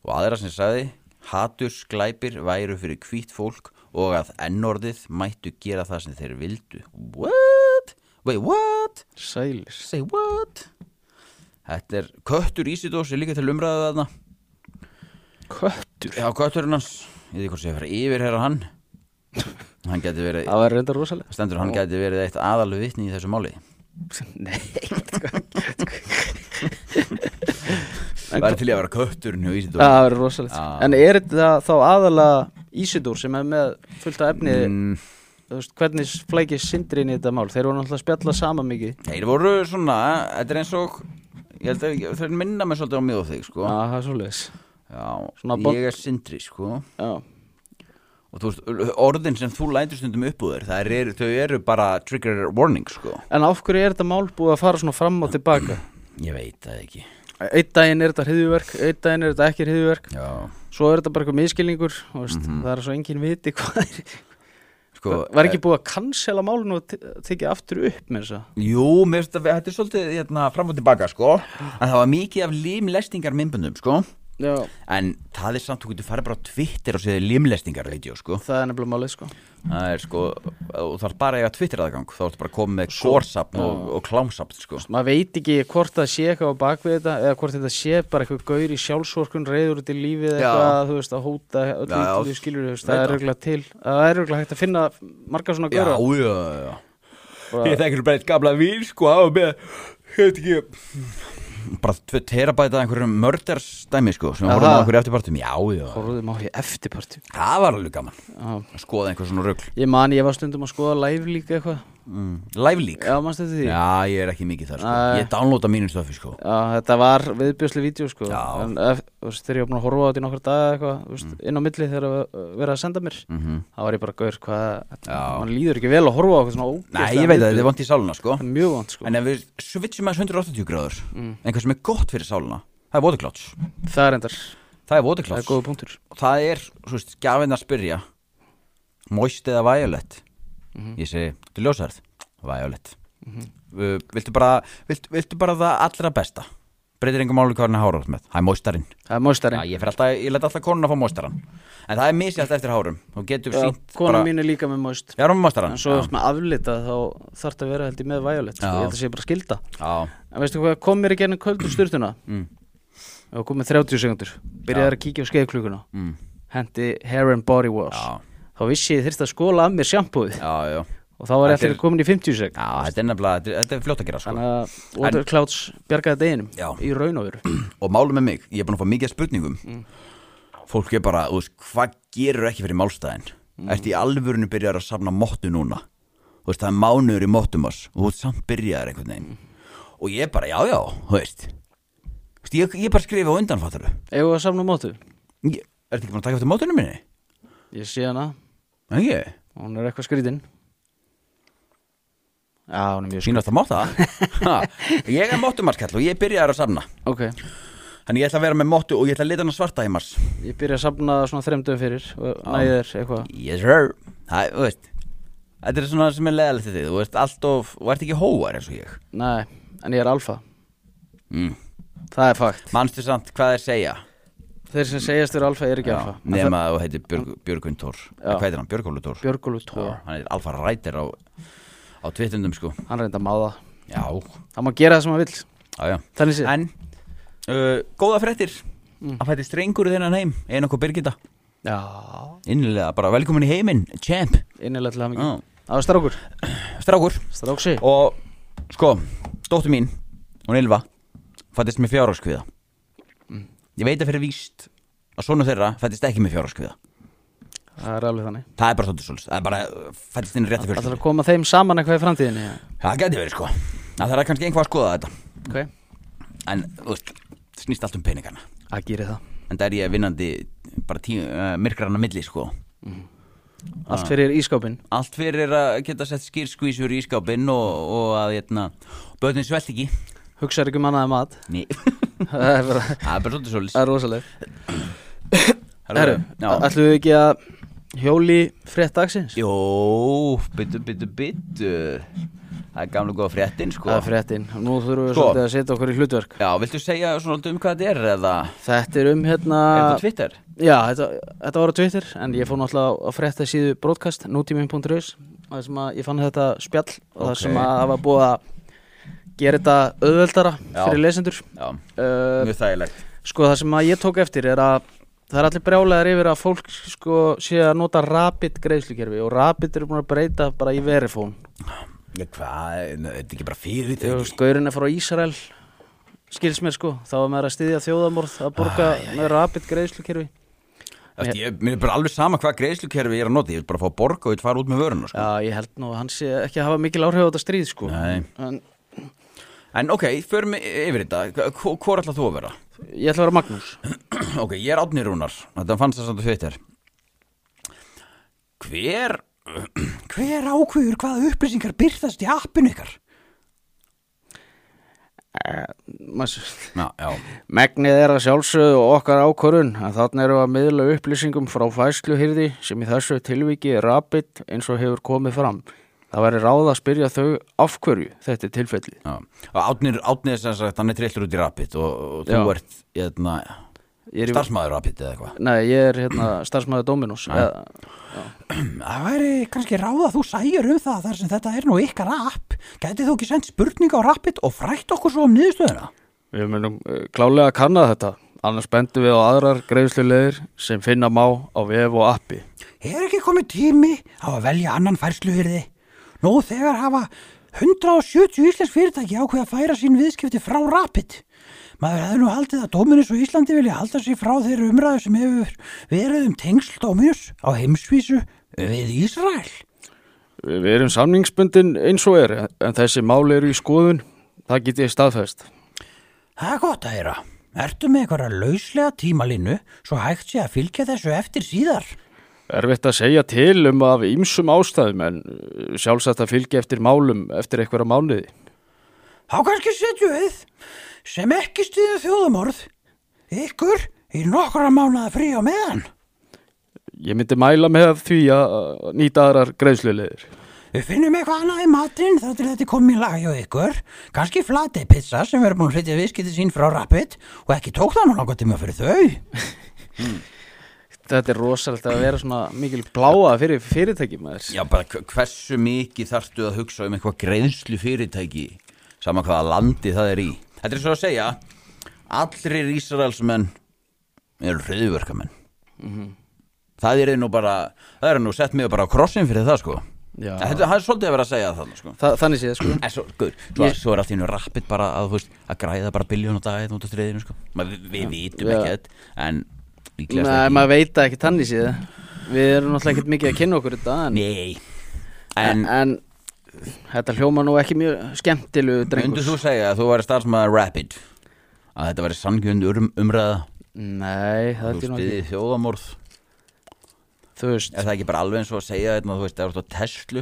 og aðra sem sagði hatursglæpir væru fyrir kvít fólk og að ennorðið mættu gera það sem þeir vildu. What? Wait, what? Sælis Say what? Þetta er köttur Ísidós, ég líka til umræðið þarna. Köttur Já, kötturinn hans Ég veit ekki hvort sé að fara yfir herra hann Hann gæti verið, það var reyndar rosalega stendur hann gæti verið eitt aðalvi vitni í þessu máli Nei En Væri til í að vera kötturinn hjá Ísidór Það verður rosalegt Já. En er þetta þá aðalega Ísidur sem er með fullt af efni Mm. þú veist, Hvernig flækir sindri inn í þetta mál Þeir eru náttúrulega að spjalla saman mikið Þeir voru svona, þetta er eins og Ég held að ég- þeir minna mig svolítið á mig og þig sko Já, það er svoleiðis Já, Svona bond- ég er sindri sko Já, Og þú veist, orðin sem þú lætur stundum upp úr þér það er, Þau eru bara trigger warning sko En af hverju er þetta mál búið að fara svona fram og tilbaka Ég veit það ekki Einn daginn er þetta hriðjuverk Einn daginn er þetta ekki hriðjuverk Já, Svo er þetta bara eitthvað miskilningur þú veist, Það er svo engin viti hvað er sko Var ekki búið að cancela málun og te- tekið aftur upp með þess að Jú, mér finnst að þetta er svolítið hérna, fram og tilbaka sko En það var mikið af limlestingar myndbundum sko Já En það er samt, þú getur farið bara á Twitter og séð limlestingar vídeo sko Það er nefnilega málið sko Það er sko, þú þarf bara að eiga Twitter aðgang Þá ertu bara að koma með kórsapn og, og klámsapn sko maður veit ekki hvort það sé eitthvað á bakvið þetta eða hvort þetta sé bara eitthvað gaur í sjálfsvorkun reyður út í lífið eða Já. eitthvað þú veist að hóta Já, öllu já. ítlu skilur þú veist, Veit það er það. örgulega til það er örgulega hægt að finna margar svona Já, gaura já, já Ég þekkir bara eitt gamla vín sko Það var með, heit ekki Bara tvö terabæta einhverjum mörderstæmi sko Sem við Já, horfum á það. einhverju eftirpartum Já, já, horfðum á því eftirpartu það var alveg gaman Já. Að skoða einhver svona rögl ég man ég var stundum að skoða live líka eitthvað mm. Live lík já mannst þetta því já. Já, ég er ekki mikið þar sko. Nei. Ég downloada mínu stöfi sko. þetta var viðbjörsli vídeo sko Já. Mm. en ef, þú veist, þegar ég var búin að horfa á þetta í nokkar daga eitthvað þú veist, inn á milli þegar að vera að senda mér mm -hmm. þá var ég bara gaur hvað Mhm. Já. mann líður ekki vel að horfa á eitthvað svona Nei, ógeðslega ég veit að viðbjóð. þetta er vant í sáluna sko. Það er mjög vant sko En ef við switchum aðeins 180 gráður Mm. Einhvað sem er gott fyrir sáluna Það er waterclots Það er endar, Það er það er waterclots góða punktur Og það er, svo veist, gjafinn að spyrja Moist eða violet Mhm. Ég segi, þetta er ljósarð Violet uh, viltu, bara, viltu, viltu bara það allra besta Breytir engum máli hvað hann er hárað með Það er moistarinn Það er móstarinn Já, ég, fer alltaf, ég let alltaf konuna fá moistarann En það er misjast eftir hárum Þú getur sínt Kona bara mín er líka með móst Já, hún er moistarann En svo eftir með aflita þá þarf það að vera held ég með violet Já. sko. Ég held að sé bara skilda Já, En veistu hvað, kom mér í gennum köldur styrtuna mm. Og kom með 30 sekundur Byrjaði að kíkja á skeiðklukuna mm. Hendi hair and body wash Já. Þá vissi ég þyrst að skóla af mér sjampúið já, já Og þá var ég Þetta er- allir komin í 50 sek Já, þetta er nefnilega, þetta er- þetta er fljótt að gera sko. Þannig að Water Clouds bjargaði deginum Já. Í raun og veru Og málum með mig, ég er búin að fá mikið af spurningum Fólk er bara, þú veist, hvað gerur ekki fyrir málstæðin? Mm. Ertu í alvörinu byrjar að safna móttu núna? Þú veist, það er mánuður í móttum oss Og þú veist, samt byrjaðar einhvern veginn Og ég bara, já, já, þú veist Þú veist, ég, ég bara skrifa á undanfattaru Egu að samna mótu Ertu ekki búin að taka eftir mótunum minni? Ég sé hana Nei, Ekki, Hún er eitthvað skrýtin Já, hún er mjög skrýtin sínast að móta Ha, Ég er móttumarskall og ég byrjaðar að safna Ok, Þannig ég ætla að vera með móttu og ég ætla að lita hana svarta í mars ég byrja að safna svona þremdum fyrir og næði þér eitthvað Yes sir Það, þú veist Þetta er svona sem er leðalegt þið, þú veist, allt of Þú ert ekki hóar eins og ég Nei, en ég er alfa Mm. Það er fakt Manstu samt hvað þeir segja Þeir sem segjast eru alfa er ekki alfa En Nefn að þú heitir Björg, Björgvin Tór Já. Hvað heitir hann? Björgólu Tór? það- Björgólfur Tór, Já, Hann er alfa rætir á, á tvittundum sko hann reynda að máða Já, Það má gera það sem hann vill já, já Þannig sé, En, uh, góða fréttir Mm. Að fætti strengur í þennan heim Einn okkur Birgitta já, Innlega, bara velkomin í heiminn Champ innilega til hamingi Já. Það var strákur, Strákur stráksi Og, sko, dóttu mín Hún Ylva Fættist með fjárháskviða Ég veit að fyrir víst Að svona þeirra fættist ekki með fjárháskviða Það er alveg þannig Það er bara svolítið svolítið Það er bara uh, fættist inn í rétta Það er fjörskviða að koma þeim saman eitthvað í framtíðinni já. Það geti verið, sko Það þarf kannski einhvað að skoða þetta Ok, En, þú veist, snýst allt um peningarna það gerir það En það er ég vinnandi bara tí, uh, myrkrarna milli, sko Allt fyrir ískápin Allt fyrir að geta sett skýrskvísur í skápinn og, og að, hérna, bötnin svelt ekki Hugsar ekki um annaði mat Nei, Það er bara- það er bara svolítið svolítið það er rosaleg Herru, Já. ætlum við ekki að hjóli frétt dagsins? Jó, byttu, byttu, byttu Það er gamla góða fréttin, sko Það er fréttin, nú þurfum við Sko. svolítið að setja okkur í hlutverk Já, viltu segja svona svolítið um hvað þetta er eða Þetta er um hérna Er þetta Twitter? Já, þetta, þetta var á Twitter en ég fór náttúrulega að frétta síðu broadcast nútímin.is það sem að ég fann þetta spjall og það Ok. sem að það var búið að gera þetta auðveldara Já. fyrir lesendur Já, uh, mjög þægilegt Sko það sem að ég tók eftir er að það er allir brjálæðar yfir að fólk sko sé að nota rapid greiðslukerfi og rapid eru búin að breyta bara í verifón Nei, Hvað, Nei, þetta er ekki bara fyrir þú veist, gaurinn er frá Ísrael skils mér sko, þá er maður að styðja þjóðamorð að borga með rapid greiðslukerfi Æst, ég, Mér er bara alveg sama hvað greiðslukerfi ég er að nota Ég vil bara fá að borga og ég vil fara út með vöruna sko. Já, ég held nú að hann sé ekki að hafa mikil áhrif á þetta stríð sko Nei. en En ok, förum yfir þetta Hvor ætla þú að vera? ég ætla að vera Magnús Ok, ég er Átni Rúnar Þetta fannst þess að þú þetta Hver Hver ákveður hvaða upplýsingar byrtast í appinu ykkar? Magnús. Já, já, Eh, Megnið er að sjálfsögðu okkar ákvörun að þarna eru að miðla upplýsingum frá fæsluhyrði sem í þessu tilviki er rapid eins og hefur komið fram. Það væri ráð að spyrja þau af hverju þetta er tilfellið. já. Og Átni, Átni er sem sagt, hann er trillur út í rapid og, og þú Já. ert, hérna, Ég er í- starfsmæður rapid eða eitthvað Nei, ég er hérna Eh, starfsmæður Dominus. Eða, Mm, Það væri kannski ráða þú sæjur um það þar sem þetta er nú ykkar app Gætið þú ekki sendt spurninga á rapid og frætt okkur svo um niðurstöðuna? við munum eh, klálega að kanna þetta, annars bendum við á aðrar greiðslulegir sem finna má á vef og appi. Er ekki komið tími á að velja annan færsluhyrði? Nú þegar hafa 170 íslensk fyrirtæki ákveð að færa sín viðskipti frá Rapid. Maður hefði nú haldið að Dominus og Íslandi vilja halda sér frá þeirri umræðu sem hefur verið um tengsl Dominus á heimsvísu við Ísrael. Við erum samningsbundin eins og er, en þessi máli eru í skoðun, það get ég staðfæst. Það er gott að heyra. Ertu með einhverja lauslega tímalínu svo hægt sé að fylgja þessu eftir síðar? Erfitt að segja til um af ýmsum ástæðum en uh, sjálfsagt að fylgja eftir málum eftir einhverja mánuði. Þá kannski setjum við sem ekki stýðum þjóðumorð ykkur í nokkra mánuða frí á meðan. Ég myndi mæla með því að uh, nýta aðrar greiðslulegir. Við finnum eitthvað annað í matinn þá til þetta er komið í lag hjá ykkur. Kanski flatei pizza sem verður búin að setja viðskipti sín frá Rapid og ekki tók það nú langar tíma fyrir þau. Þetta er rosalegt að vera svona mikil bláa fyrir fyrirtækjum aðeins. Já, bara hv- hversu mikið þarftu að hugsa um eitthvað greiðslu fyrirtæki saman hvaða landi það er í. Þetta er svo að segja, allir Ísraelsmenn eru hriðverkamenn. Það er nú bara, það er nú sett mig bara á krossin fyrir það sko. Já. Þetta það er svolítið að vera að segja það sko. Þa, þannig séð sko. En svo, guð, svo, svo er allt í hennu rappið bara að, þú veist, að græða bara biljón og dagið út á stríðinu, sko. Ma, við, við vitum Já. ekki þetta, en líklega Nei, maður veit það ekki þannig séð. Við erum náttúrulega ekkert mikið að kynna okkur þetta en, Nei, en en, þetta hljóma nú ekki mjög skemmtilegu drengur. myndur þú segja að þú væri starfsmaður Rapid? Að þetta væri sangjönd um, umræða, Nei, það þú er nú ekki. stiði þjóðamorð? Þú veist, Er það ekki bara alveg eins og að segja þetta, þú veist, það er út á Tesla,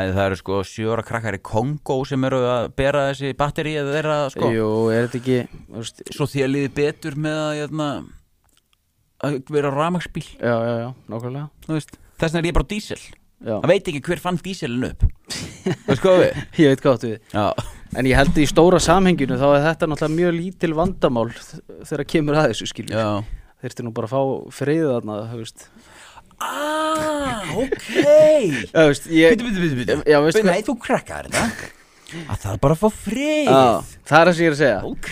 að það eru sko sjóra krakkar í Kongo sem eru að bera þessi batteri eða þeirra, sko? jú, er þetta ekki, þú veist, Svo því að liði betur með að, hérna, að vera ramagsbíl, já, já, já, nákvæmlega. þú veist? Þess vegna er ég bara á dísel. Já. Það veit ekki hver fann díselin upp Þú sko við Ég veit hvað áttu við Já, En ég held í stóra samhenginu þá er þetta náttúrulega mjög lítil vandamál þ- þegar kemur að þessu skilur já Þeirti nú bara að fá friðið þarna þú veist. Ah, ok Já, þú veist, ég, Býtu, býtu, býtu, býtu Já, veistu Nei, þú krakkar þetta Að það er bara að fá frið á, Það er það sem ég er að segja Ok,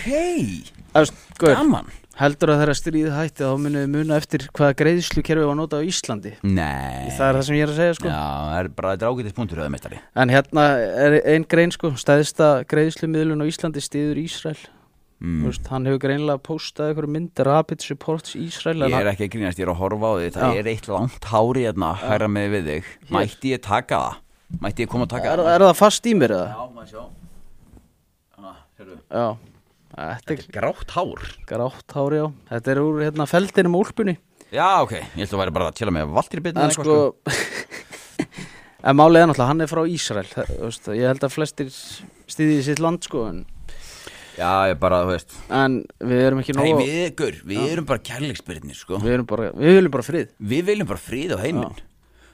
Þú veist, Gaur, gaman heldur að þeirra stríð hætti þá munið þið muna eftir hvaða greiðslukerfi var notað á Íslandi Nei Það er það sem ég er að segja Já, sko það er bara þetta ágætis punktur eða meistari En hérna er ein grein sko stæðsta greiðslumiðlun á Íslandi stiður Ísrael mm. veist, Hann hefur greinlega postað einhverju mynd Rapid Supports Ísrael en Ég hann- er ekki að grínast, ég er að horfa á því Það Já. er eitt langt hári hérna Hæra með við þig Mætti ég taka það? Mætti ég koma að taka er, það? er það fast í mér eða? Já, maður sjá Þannig, sérðu Já, þetta er Grátt hár grátt hári á Þetta er úr hérna feldinum úlpunni Já, ok, ég held að væri bara að tjela með valtir bitna En sko sko. En málið er náttúrulega, hann er frá Ísrael það- þú veist, Ég held að flestir stýði í sitt land sko En, Já, ég bara, þú veist en við erum ekki Nei, nóg við, gur, við erum bara kærleiksbyrðinir, sko við, erum bara, við viljum bara frið Við viljum bara frið á heiminn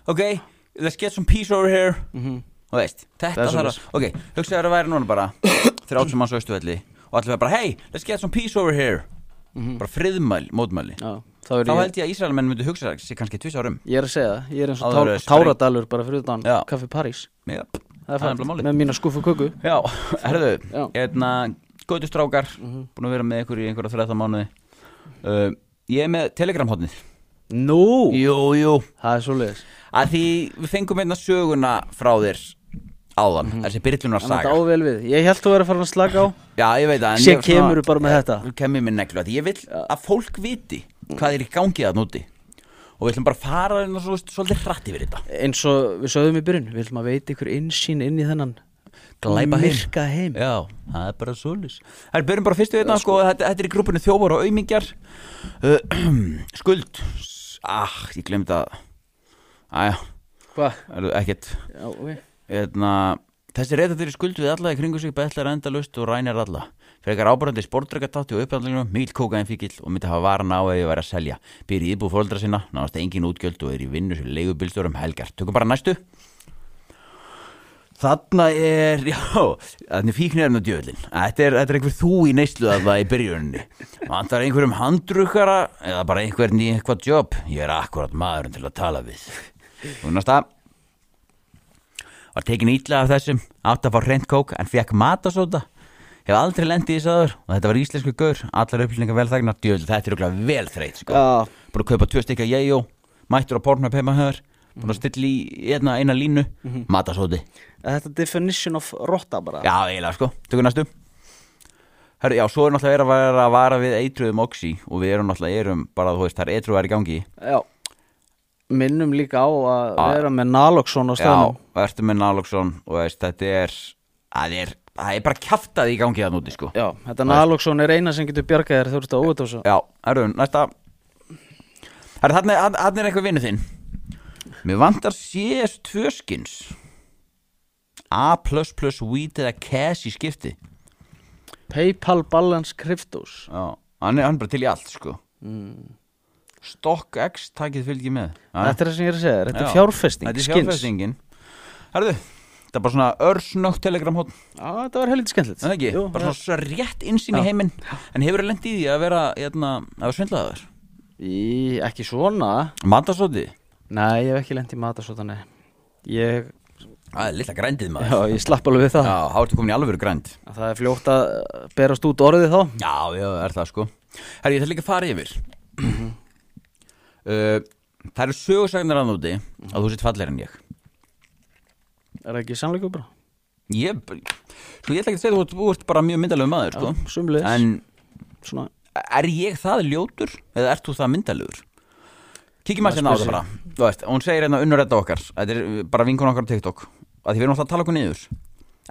Ok, let's get some peace over here Mhm. Þú veist, þetta Það þarf er að Ok, hugsaðu að það væri núna bara 30 manns á austuvelli Og allir verður bara, hey, let's get some peace over here Bara friðmæli, mótmæli Mhm. Já, þá er Þá ég, held ég að Ísraelmenn myndu hugsa sér kannski um. tvís árum ég er að segja það Ég er eins Áður og tá, en spreng- táradalur bara fyrir utan Já. Kaffi París Já, Það er nefnilega fælt málið. með mína skúfu köku Já, herðu, Já. Mhm. hérna, góðu strákar, búin að vera með ykkur í einhverja 13 mánuði uh, Ég er með telegramhóttnið Nú, Jú, jú það er svoleiðis Að því við fengum einna söguna frá þér áðan Þessi byrjunar Þannig að Mhm. þetta saga á vel við Ég held þú verið að fara að slaka á Já, ég Eh, veit að Sér kemurðu bara með þetta. Þú kemur með neglu Því ég vil að fólk viti hvað er í gangi þarna úti Og við ætlum bara að fara hérna svo, svolítið hratt yfir þetta Eins og við sögðum í byrjun Við viljum að veita ykkur innsýn inn í þennan Glæpa heim. Myrka heim Já, það er bara solis Það er byrjum bara fyrstu þetta sko, þetta, þetta er í grúpunni þjófar og aumingjar uh, Skuld Ah, ég glemd að Æja, Hvað? er þú ekkert Já, ok Eðna, Þessi reyta þeirri skuld við alla í kringu sig betlar endalust og rænar alla Frekar ábærandi sportdrekatátti og upphandlingunum Míl kókaðin fíkil og myndi hafa varan á ef ég væri að selja Býr í íbúð fóldra sinna, náðast engin útgjöld og er í vinnu sem leigubilstjórum helgar Tökum bara næstu Þarna er, já, þannig fíknirinn og djöðlin. Þetta er, þetta er einhver þú í neyslu að það í byrjuninni. Vantar einhverjum handrukara eða bara einhvern í eitthvað jobb. Ég er akkurat maðurinn til að tala við. Þú næsta. Var tekin ítla af þessum, átt að fá reynd kók en fekk matasóta. Hef aldrei lendið í þessu aður og þetta var íslensku gaur, allar upplýningar velþagnar, djöðl, þetta er okkur vel þreyt, sko. Já. Búin að kaupa tvö stykja jæjó, mættur á pornhöf heima höfur, búin að stilla í einna, eina línu, matasóti. Þetta definition of rotta bara Já, eiginlega sko, tökum næstu Hörru, já, svo er náttúrulega verið að vara, að vara við eitruðum oxi og við erum náttúrulega erum bara, þú veist, það er eitruðar í gangi Já. Minnum líka á að Já. vera með Naloxon á Já, staðnum ertu með Naloxon og veist, þetta er það er, það er bara kjaftað í gangi þann úti, sko Já, þetta Naloxon er eina sem getur bjargað þér þegar þú ert að óvita á svo Já, herru, næsta Herru, þarna er- þarna er eitthvað vinnu þinn Mér vantar CS2 skins A++ weed eða cash í skipti Paypal Balance Cryptos Já, hann er, hann er bara til í allt sko StockX takið fylgi með Mm. Þetta er það sem ég er að segja, þér, þetta Já. er fjárfesting Þetta er skins. fjárfestingin Herðu, þetta er bara svona örsnögt telegram hótt Já, þetta var helviti skemmtilegt Það ekki, Jú, bara já. svona svo rétt innsýn í heiminn En hefur það lent í því að vera, hérna, að vera svindlaður Í, ekki svona Matasóti Nei, ég hef ekki lent í matasótani Ég, Það er lilla grændið já, maður ég slapp alveg við það Já, þá ertu komin í alvöru grænd Það er fljótt að berast út orðið þá Já, já, er það sko Herru, ég ætla líka að fara yfir Mhm. uh, Það eru sögursagnar að núti að þú sitt fallir en ég Er það ekki sannleikur bara? Ég, sko ég ætla ekki að segja þú, ert- þú ert bara mjög myndalegu maður, sko sumleiðis. En Svona, er ég það ljótur eða ert þú það myndalegur? Kíkjum að sérna á spyr það bara Þú veist, hún segir hérna unnur þetta okkar Þetta er eh, bara vinkun okkar á TikTok að Því við erum alltaf að tala okkur niður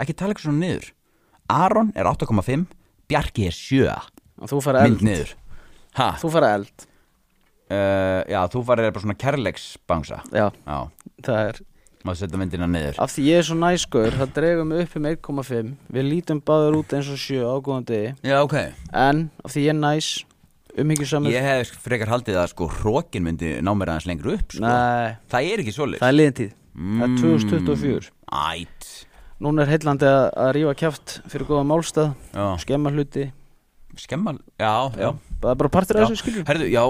Ekki tala okkur svona niður Aron er 8,5 Bjarki er 7 að þú fara Mynd eld niður Ha, Þú fara eld, uh, já, þú farir bara svona kærleiksbangsa já, Já, það er maður setja myndina niður Af því ég er svo næskur, það dregum við upp um 1,5 Við lítum báður út eins og 7 ágóðandi Já, ok En af því ég er næs, umhyggjusamur Ég hef frekar haldið að sko Rókin myndi ná mér aðeins lengur upp sko. Nei, Það er ekki svoleiðis það er liðin tíð Það er 2024 Ætt Núna er heillandi að, að rífa kjátt fyrir góða málstað Já. Skemma hluti Skemmal, já, já, Það er bara partur já. af þessu skiljum Herðu, já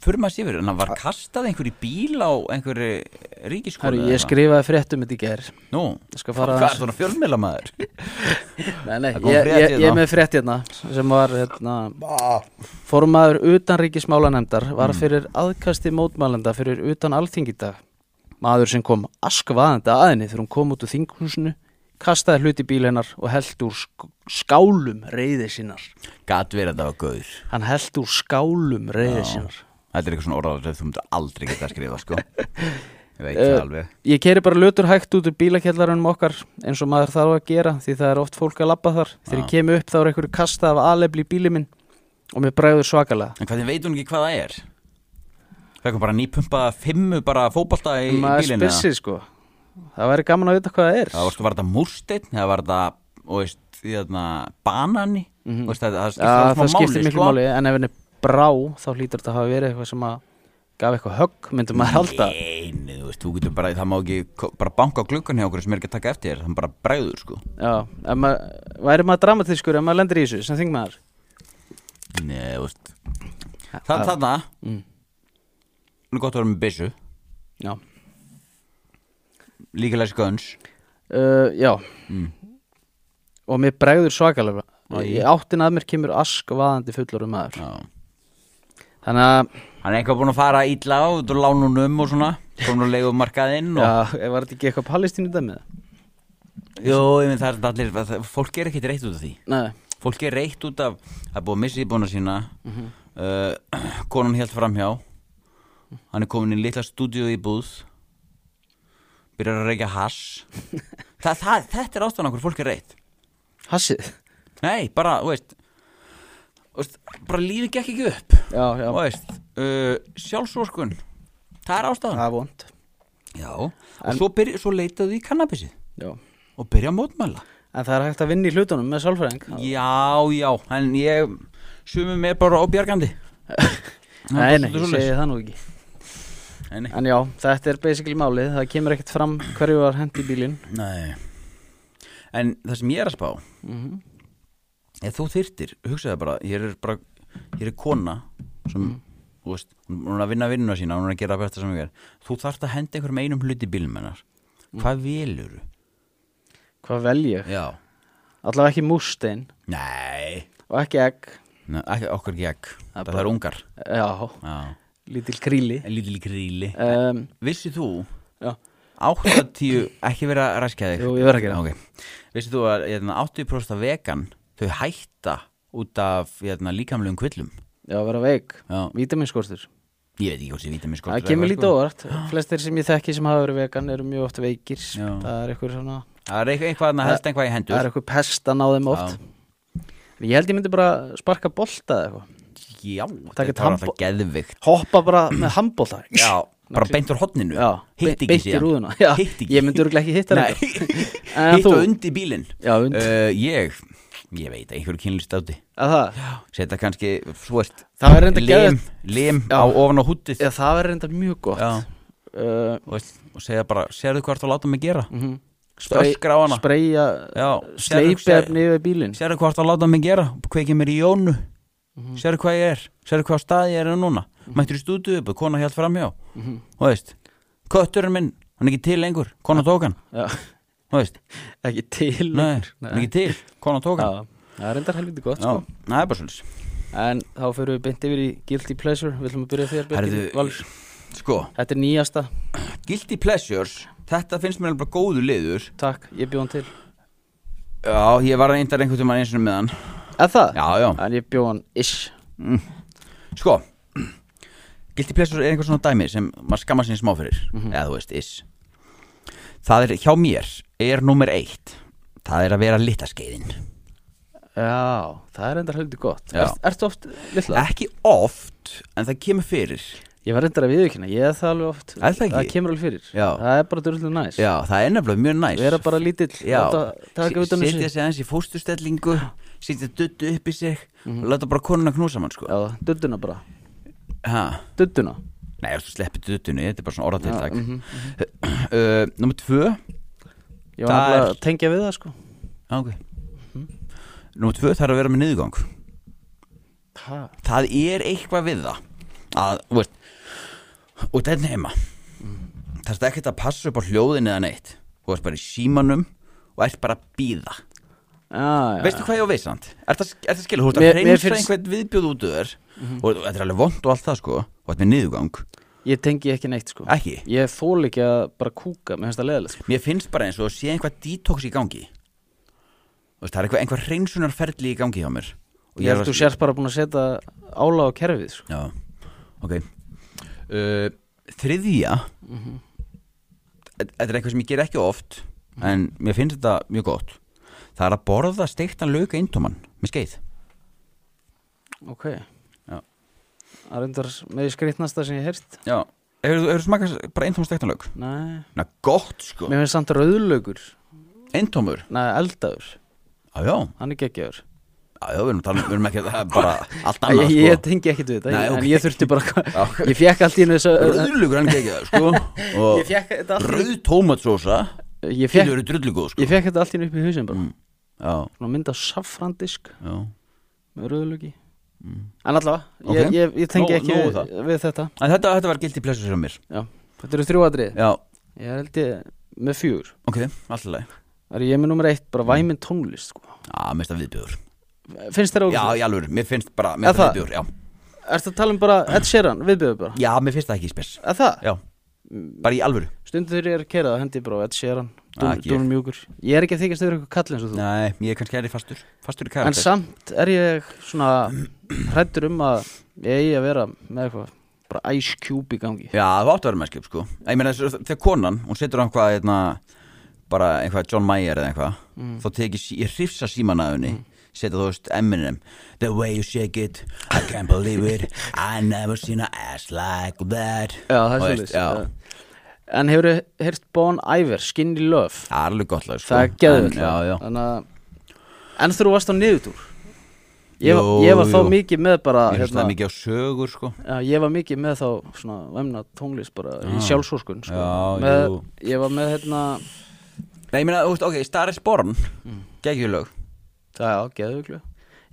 Fyrir maður sér En hann var kastað einhver í bíl á einhverju ríkiskóla Herru, ég skrifaði fréttum þetta í ger Nú, Ég skal fara hvað aðeins- er svona fjölmela maður? Nei, nei, Það kom ég, frétt ég, ég hérna. er með frétt hérna sem var hérna, formaður utanríkismálanemdar var fyrir aðkasti mótmælenda fyrir utan alþingi í dag maður sem kom askvaðandi að henni þegar hún kom út úr þinghúsinu kastaði hluti bíl hennar og held úr sk- skálum reyði sinnar Gat verið að það var gauður hann held úr skálum reyði sinnar Þetta er eitthvað svona orðaður sem þú myndir aldrei geta að skrifa sko Ég veit Eh, það alveg ég keri bara lötur hægt út úr bílakjallarunum okkar eins og maður þarf að gera því það er oft fólk að labba þar þegar ég kemi upp þá er einhverju kastað af aðlefli í bíli minn og mér bræður svakalega En hvernig veit hún ekki hvað það er? Það er bara nýpumpa fimmu bara fótbolta í, í maður bílinni spissið sko það væri gaman að vita hvað það er Það var sko, var þetta múrsteinn, það var þetta, og veist, hérna, banani, mm veist, það, það skiptir ja, alveg smá Mhm. það skiptir máli, miklu sko. máli en ef henni brá þá hlýtur þetta að hafa verið eitthvað sem að gaf eitthvað högg myndum maður halda Nei, nei, þú veist, þú getur bara, það má ekki ko- bara banka á gluggan hjá okkur sem er ekki að taka eftir þér, þannig bara bregður, sko. já, ef maður, væri maður dramatískur ef maður lendir í þessu sem þing maður Nei, þú veist. Það, þarna, mm. nú er gott að vera með byssu, já, líkilegs guns, uh, já. og mér bregður svakalega Í áttin að mér kemur askvaðandi fullur um maður já, Þannig að, Hann er eitthvað búin að fara ítla á út og lánunum og svona komin að leiðu markaðinn já, og var þetta ekki eitthvað palestínu dæmið? Jó, ég minn það er allir, það- fólk er ekkert reitt út af því Nei, Fólk er reitt út af, það er búið að missa íbúna sína uh, Konan held framhjá Hann er komin í litla stúdíu íbúð Byrjar að reykja hass það, það, Þetta er ástæðan okkur, fólk er reitt hassið Nei, bara, þú veist, þú veist Bara lífi gekk ekki upp Já, já, Þú veist, uh, sjálfsvorkun Það er ástæðan það er vond Já, og svo, byrja, svo leitaðu í kannabisið Já, og byrja að mótmæla en það er hægt að vinna í hlutunum með sálfræðing Já, já, en ég sumum er bara óbjargandi Nei, nei, ég svolítið segi það nú ekki Nei, nei. En já, þetta er basically málið, það kemur ekkert fram hverju var hent í bílinn nei En það sem ég er að spá Mhm. Ef þú þyrtir, hugsaðu bara Ég er bara, ég er kona sem, Mhm. þú veist, hún er að vinna vinnuna sína hún er að gera það besta sem ég er Þú þarft að henda einhverjum einum hluti bílum hennar Mhm. Hvað velur? Hvað vel ég? Já, Allavega ekki mústein nei og ekki egg Nei, ekki, okkur ekki ekki, Það það, er bara- er ungar Já, Já, lítil kríli en lítil gríli um, Vissið þú Já, 80, ekki vera að ræskja þig Jú, ég verð að gera það. okay. Vissið þú að hérna, 80% af vegan þau hætta út af hérna, líkamlegum kvillum já, vera veik Já. Vítaminskortur Ég veit ekki hvort sem vítamín skortur Það kemur sko. lítið óvart Flestir sem ég þekki sem hafa verið vegan eru mjög oft veikir Já. Það er eitthvað svona Það er eitthvað, eitthvað að helst eitthvað í hendur Það er eitthvað pest að ná þeim oft Ég held ég myndi bara sparka bolta eða eitthvað Já, Taka þetta var tampo- alltaf geðvikt Hoppa bara með handbolta Já, bara beint úr hotninu Já, Hitt be- ekki beint í rúðuna. Já, Hitt ekki ég myndi örugglega ekki hitta Nei. En Hitt þú? og undir bílinn Já, undir. Uh, Ég, ég veit, einhverju kynlist átti Að það Setta kannski, svo veist Það er reyndar Lim, geðveikt. lim Já. á ofan á húttið Já, það verður reynda mjög gott Já. uh, Þú veist, og segja bara, sérðu hvað þú láta mig gera mm Mhm. -hmm. á hana Spreyja Já, Sleipefni yfir bílinn Mhm. sérðu hvað þú láta mig gera kveikið mér í jónu sérðu hvað ég er, sérðu hvað staði ég er á núna mættur í stúdíu upp, kona hjælt framhjá mm Mhm. -hmm. og veist, kötturinn minn hann er ekki til lengur, kona tók hann Já, og veist, Ekki til nei, Ah. lengur. hann er ekki til kona tók hann Já, það er reyndar helviti gott Já, sko. það er bara svolítið En þá fyrir við beint yfir í Guilty Pleasure Við ætlum að byrja þér Birgir Valur. Herðu, sko, Þetta er nýjasta, Guilty Pleasures þetta finnst mér alveg bara góðu liður takk, ég bjóð hann til Já, ég var reyndar einhvern tímann eins og með hann Er það? Já, já En ég bjóð hann ish Sko Guilty Pleasure er einhver svona dæmi sem maður skammar sinni smá fyrir Mhm. eða þú veist, is Það er, hjá mér, er nummer eitt Það er að vera litaskeiðin Já, það er reyndar helviti gott Já. er, Ertu oft litla? Ekki oft, en það kemur fyrir Ég var reyndar að viðurkynna, ég er það alveg oft Er það ekki? kemur alveg fyrir Já. Það er bara dörlega næs Já, það er nefnilega mjög næs Vera bara lítill, Já, láta taka Se- utan um sig. setja sig aðeins í fóstustellingu Setja duttu upp í sig Og láta bara konuna knúsa mann, sko Mhm. Já, dudduna bara Ha, Dudduna Nei, þú sleppir duttunni, þetta er bara svona orðatiltak mhm, uh, Númer tvö Ég var Það nefnilega er- að tengja við það sko Já, ok Mhm. Númer tvö, það er að vera með niðurgang ha. það er eitthvað við það að, þú veist og þetta er heima það er ekkert að passa upp á hljóðin eða neitt þú ert bara í símanum og ert bara að býða Já, já, veistu hvað ég á veisand? er það, er það skilur, þú ert Mér- að mér hreinsa finnst- Mhm. einhvern viðbjóð út úr þér og þetta er alveg vond og allt það sko og þetta er niðurgang Ég tengi ekki neitt sko Ekki? Ég þól ekki að bara kúka, mér finnst það leðilegt sko mér finnst bara eins og sé einhvað detox í gangi Þú veist, það er eitthvað, einhver hreinsunarferli í gangi hjá mér og Ég held þú sérst bara búin að setja ála á kerfið sko Já, ok uh, Þriðja Mhm. Þetta er eitthvað sem ég ger ekki oft Mhm. En mér finnst þetta mjög gott Það er að borða steiktan lauka eintóman Með skeið Ok Já. Það er reyndar með því skrýtnasta sem ég heyrst Já Hefur þú smakað bara eintóman steiktan lauk? Nei Na, gott sko Mér finnst samt rauðlaugur Eintómur Nei, eldaður Já, já Hann er geggjaður Já, já, við erum, talað, við erum ekki það er bara allt Ég, annað sko ég tengi ekkit við þetta Nei, En ok. ég þurfti bara Já. Ég fekk allt í hennu þessu Rauðlugur hann ekki það sko Ég Og fekk þetta allt í- rauð tómatsósa Ég Þið fekk eru drullugóð sko Ég fekk þetta allt í hennu upp í hausinn bara Já, Svona mynd á saffrandisk já með rauðlöki en allavega, Ok. ég, ég, ég tengi Nóg- ekki nóg við, það. við þetta En þetta, þetta var gildi plessur sem mér já. þetta eru þrjú atrið Já, ég held ég með fjúr ok, alltaf leið það er ég með nummer eitt, bara væmin tónlist sko. Já, mér finnst það viðbjöður finnst þér Mm. Já, ákveð í alveg, mér finnst bara, mér Er finnst það það? viðbjöður, já Ertu að tala um bara Ed Sheeran, viðbjöðu bara Já, mér finnst það ekki spes Að það, Já, bara í alvöru stundu þegar ég er að kera það hendi ég bara á Ed Sheeran, Ah, ekki ég. Dún Mjúkur Ég er ekki að þykast þeir eitthvað kall eins og þú Nei, ég er kannski erri fastur Fastur í En karakter samt er ég svona hrættur um að ég eigi að vera með eitthvað bara Ice Cube í gangi Já, það átti að vera mennskip sko Ég meina þess- þegar konan, hún setur á eitthvað einna, bara eitthvað John Mayer eða eitthvað Mm. þá tek ég, sí- ég hrifsa síman að henni setja þú veist Eminem The way you shake it, I can't believe it I never seen a ass like that Já, það er Og svolítið veist, Já, En hefur þið heyrt Bon Iver, Skinny Love það er alveg gott lag sko Það er geðvöld En- Já, já En þegar þú varst á niðurtúr Ég, var- Jú, ég var þá jú. mikið með bara Ég hlusta hérna, mikið á sögur sko Já, ég var mikið með þá svona vemna tónlist bara í sjálfsóskun sko. Ah. Já, með, jú. Ég var með hérna Nei, ég meina, þú veist, ok, Star is Born geggjulög Það já, geðuglu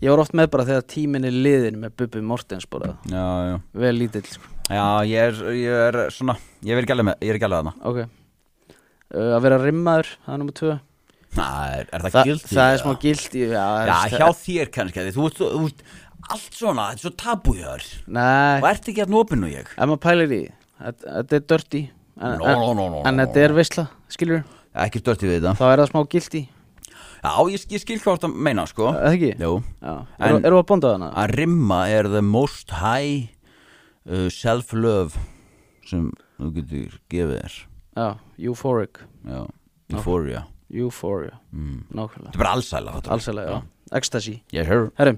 Ég var oft með bara þegar tíminn er liðin með Bubbi Mortens bara Já, já Vel lítill sko. Já, ég er, ég er svona Ég er ekki alveg með, ég er ekki alveg með Ok uh, Að vera rimmaður, það er nummer tvö það Er, er það Þa, guilty? Það er eða? smá gildi Já, Já, það er- hjá þér kannski því, Þú veist, þú veist, allt svona, þetta er svo tabújör Nei, Og ert ekki að nópinu ég ef maður pælir í því, Þetta þetta er dirty En, No, en- no, no, no, en no, þetta er veistla, skilur Ekki störti við þetta Þá er það smá gildi Já, ég, ég skil hvað það meina, sko Eða ekki? Jú Já, En- eru eru að bonda þarna? Að rimma er the most high uh, self-love sem þú getur gefið þér Já, euphoric Já, euphoria Euphoria, Mm. nákvæmlega Þetta er bara allsæla, fattar Alsælega, já, ecstasy Yes, sir Herrum,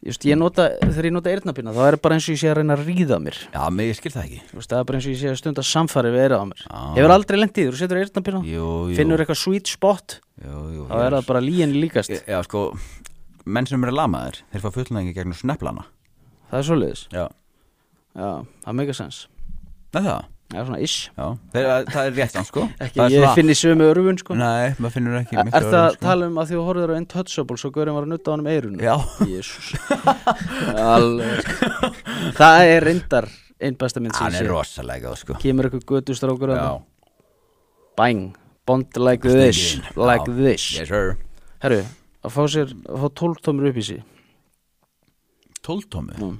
just, Mm. ég nota, þegar ég nota eyrnabina þá er bara eins og ég sé að reyna að ríða mér Já, mig, ég skil það ekki Þú veist, það er bara eins og ég sé að stunda samfari við eyrað á mér Já. Hefur aldrei lent í því, þú setur eyrnabina Jú, jú Finnur eitthvað sweet spot Jú, jú Þá er ég- það bara líin líkast Já, sko, menn sem eru lamaðir þeir fá fullnæðingi gegnum sneplana Það er svoleiðis Já Já, það er mega sens Nei það, Já, svona ish já, þeir, það er rétt hann sko Ekki, Það er ég svona- finn í sömu örfun sko Nei, maður finnur ekki Er miklu það öðrum, að tala um að því þú horfður á Intouchable svo gaurinn var að nutta á honum eirunum? Já. Jésús Alveg sko. Það er reyndar einn besta mynd sem Hann ég er sé rosalega góð, sko Kemur eitthvað gödustrákur að Já það Bang, bond like this Stingin. Like Já. this Yes sir Herru, að fá sér, að fá tóltómur upp í sí Tóltómi Mm.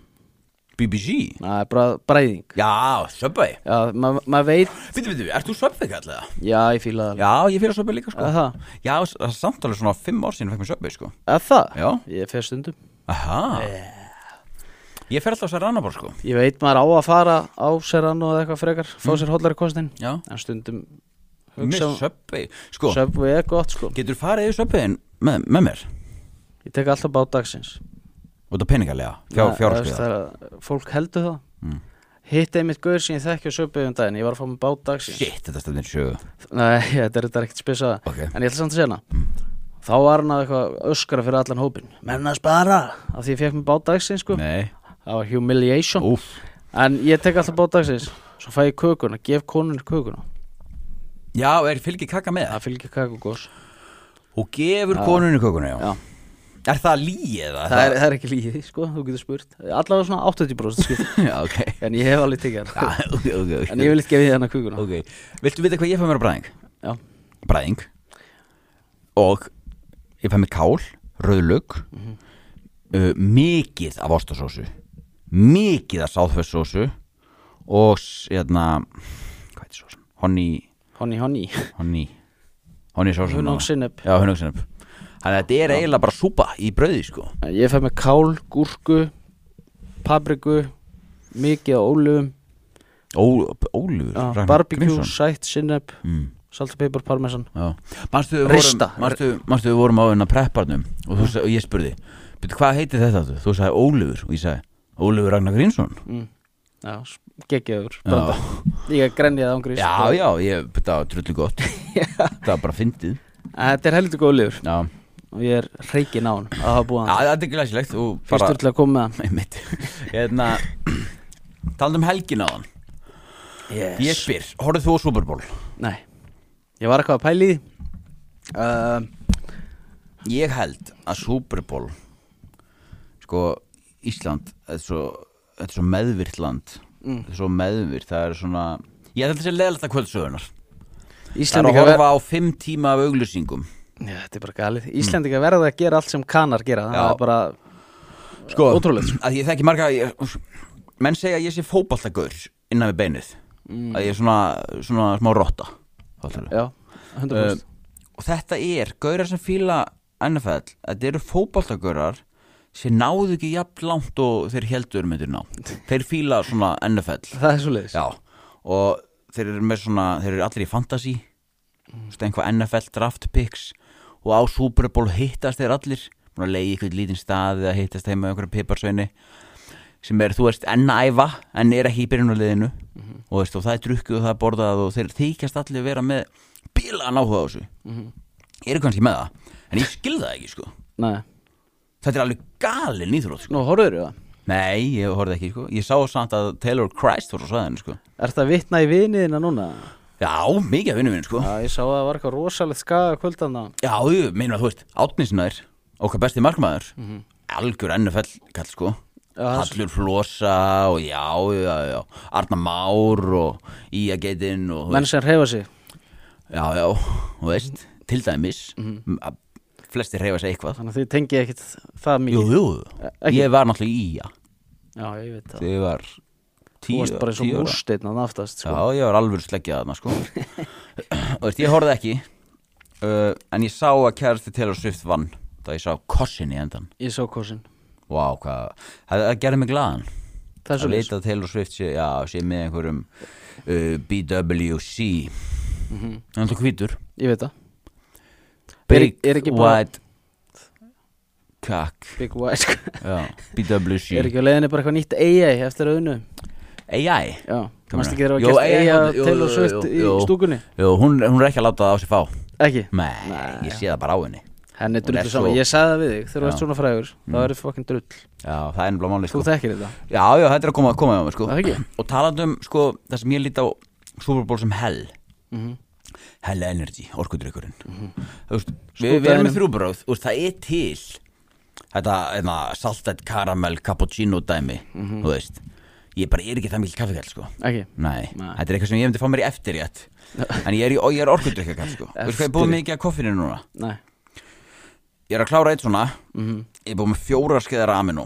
BBC Það er bara bræðing Já, Subway Já, ma- maður veit Fyndi, fyndi, ert þú Subway kallega? Já, ég fíla það alveg. Já, ég fyrir Subway líka, sko Að það? Já, s- það er samtalið svona fimm ár síðan fekk mér Subway, sko Að það? Já. Ég fer stundum Aha Ég fer alltaf sér annabar, sko Ég veit maður á að fara á Serrano eða eitthvað frekar Fá sér hollari kostin Mm. Já. En stundum Mér hugsa- um- Subway Sko, Subway er gott sko getur farið í Subwayin með, með mér? Ég tek alltaf bát dagsins Út af peningalega, fjár, Nei, fjárhagslega það er að Fólk heldur það mm. Hitt einmitt gaur sem ég þekki á söpbið um daginn Ég var að fá mig bát dagsins Shit, þetta stefnir í sögu Nei, þetta er þetta ekkert spesað Ok. Mm. En ég ætla samt að segja hana Þá var hann að eitthvað öskara fyrir allan hópin Menn að spara Af því ég fekk mig bát dagsins sko Nei, Það var humiliation úf En ég tek alltaf bát dagsins Svo fæ ég kökuna, gef konunni kökuna Já, er fylgir kaka með Það fylgir kakogós Og gefur konunni kökuna, já. Já. Er það líið eða? það, er- það er ekki líði sko, þú getur spurt Allavega svona 80% skipt Já, ok En ég hef alveg tekið Já, hann ok, ok, ok En ég vil ekki gefa því hana kukuna Ok, viltu vita hvað ég fæ mér á bræðing? Já, Bræðing Og ég fæ mér kál, rauðlug uh, Mikið af ostasósu Mikið af sáðfessósu Og, s- hérna Hvað heitir sósun? Honni, honni honni honni Honni sósun Hunangssinnep. Já, hunangsinnep Þannig að þetta er eiginlega bara súpa í brauði, sko Ég fæ með kál, gúrku papriku mikið á ólöfum Ó- Ólífur Ragnar barbecue, Grímsson. sætt, sinneb mm. salt og pipar, parmesan Já. Manstu við Rista. vorum, manstu, manstu við vorum á hennar prepparnum og, þú, sa- og ég spurði "Bíddu, Hvað heitir þetta þú? Þú sagði Ólifur og ég sagði Ólifur Ragnar Grínsson Já, geggjaður brandar. Ég grenjaði án grís Já, já, ég, þetta var drullu gott Það var bara fyndið En Þetta er heldur góð löfur Já, og ég er reygin á hann að hafa búið Já, hann það er glæsilegt og bara Fyrstur til að koma með hann Nei, mitt Hérna Talandi um helgin á hann yes. Ég spyr, horfðu þú á Super Bowl? Nei, ég var eitthvað að pæli uh, Ég held að Super Bowl Sko, Ísland Þetta er svo, þetta er svo meðvirt land Þetta er svo meðvirt Það er svona Ég held að þetta sé leðalegt að kvöldsögunar Það er að Íslendinga horfa á fimm tíma af auglýsingum Já, þetta er bara galið Íslendinga verða að gera allt sem kanar gera Mm. Já. Það er bara Sko, Ótrúlegt. að ég þekki marga ég, menn segja að ég sé fótballtagaur innan við beinið að ég er svona, svona smá rotta Fattarðu? Já, 100% Uh, Eh, og þetta er gaurar sem fíla NFL, að þetta eru fótballtagaurar sem náðu ekki jafn langt og þeir heldur myndir ná þeir fíla svona NFL Það er svo leiðis Já, og þeir eru með svona þeir eru allir í fantasy mm. einhvað NFL draft picks og á Super Bowl hittast þeir allir búin að leiði ykkur lítinn stað eða hittast þeim með einhverja piparsveini sem er, þú veist, enn að æfa en er ekki í byrjunuleginu mm -hmm. og, veist, og það er drukkuð og það er borðað og þeir þykjast allir vera með bílan áhuga á þessu eru kannski með það en ég skil það ekki, sko Nei, þetta er alveg galin íþrótt, sko nú horfður það nei, ég horfði ekki, sko ég sá samt að Taylor Christ voru á svæðinu, sko Er þetta vitna í viniðina núna? Já, mikið af vinnum minn, sko. Já, ég sá að það var eitthvað rosalegt skaga kvöldana Já, ég meina að þú veist, átnisnæður, okkar besti markmaður, algjör NFL kall, sko. Mhm. Já, það- Hallur Flosa og já, já, já, Arna Már og Ía Geitin og, þú Menn veist, sem reyfa sig já, já, þú veist, til dæmis, Mhm. að flestir reyfa sig eitthvað. Þannig að þið tengið ekkit það Jú, mikið jú, ekki- ég var náttúrulega í Ía, Já, ég veit það þegar ég var Þú tíu, varst bara eins og tíu ára. múrsteinn að aftast sko. Já, ég var alveg sleggjað þarna sko Og veist, ég horfði ekki uh, En ég sá að kærasti Taylor Swift vann Það ég sá kossin í endan Ég sá kosin Vá, hvað Það, það gerði mig glaðan Það er Að svo leiðis vita að Taylor Swift sé, já, sé með einhverjum uh, BWC Það er alltaf hvítur Ég veit það Mhm. Er- Big er ekki bara- White Cock Big White sko. já, BWC Er ekki á leiðinni bara eitthvað nýtt AI eftir að unnu AI Já, Kom hérna. mannst ekki þeirra að Jú, gert AI, AI að jú, Taylor jú, Swift jú, í jú. stúkunni Jú, hún, hún er ekki að láta það á sig fá Ekki Nei, ég sé það bara á henni Hún Henni er drullu svo- saman, ég sagði það við þig Já. Þegar þú Mm. ert svona frægur, þá er það fucking drull Já, það er ennblá máli Þú sko. þekkir þetta Já, já, þetta er að koma, koma hjá mér sko Það ekki? Og talandi um sko, það sem ég líti á Super Bowl sem hell Hell Energy, orkudrykkurinn Þú veist, Mhm. sko, við, við erum Skútaðinum. með þrjúbráð Þú veist, það er til Þetta, þetta saltett karamel cappuccino dæmi Þú veist Ég bara er ekki það mikil kaffekall sko Ekki Mhm. Nei, Nei. þetta er eitthvað sem ég myndi fá mér í eftirrétt En ég er, í- og ég er orkudrykkakall sko Þú veist hvað ég er búið Eftirrétt. mikið að koffinu núna Nei Ég er að klára eitt svona Ég er búið með fjóra skeiðar aminó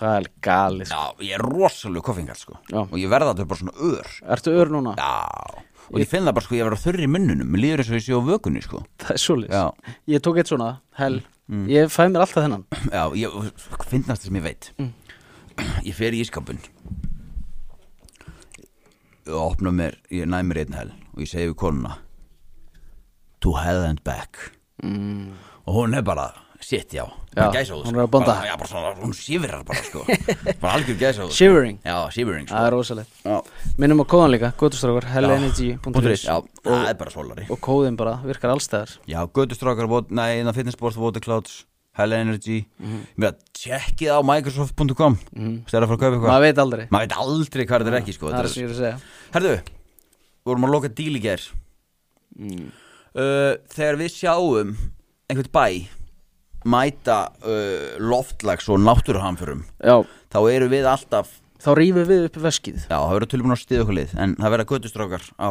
Það er galið sko. Já, ég er rosalega koffingall sko Já. Og ég verða þetta bara svona ör Ertu ör núna? Já Og ég finn það bara sko, ég verða þurr í munnunum Mér líður eins og ég sé á vökunni sko Það er svoleiðis Já. Mm. Ég tók eitt svona, hell Ég fæ mér alltaf þennan Já, ég finnast það sem ég veit Mm. Ég fer í ískapun Ég opna mér, ég næ mér einn hel Og ég segi við konuna To hell and back mm. Og hún er bara, shit já Já, gæsa, hún er að bonda. bara, Já, bara svona, hún sífrar bara sko Bara algjör gæsa Shivering. Ah. Já, shivering sko Það er rosalegt Já. Minnum á kóðan líka, góðustrákar Já. hellenergy.is Já, það er bara svolari Og kóðin bara virkar allstæðar Já, gödustrákar, vot- nei, innan fitnessbort Water Clouds, Hella Energy Ég meina, tjekkið á microsoft.com mm. Stæða að fara að kaupa eitthvað Maður veit aldrei Maður veit aldrei hvað þetta er ekki, sko Það er þetta sem ég er að segja er- Herðu, við vorum að loka díl í ger uh, Þegar við sjáum einhvern bæ mæta uh, loftlags og náttúruhamförum Já, þá eru við alltaf þá rýfum við upp veskið Já, það verður tölvun á stiðuklið en það verða göttustrákar á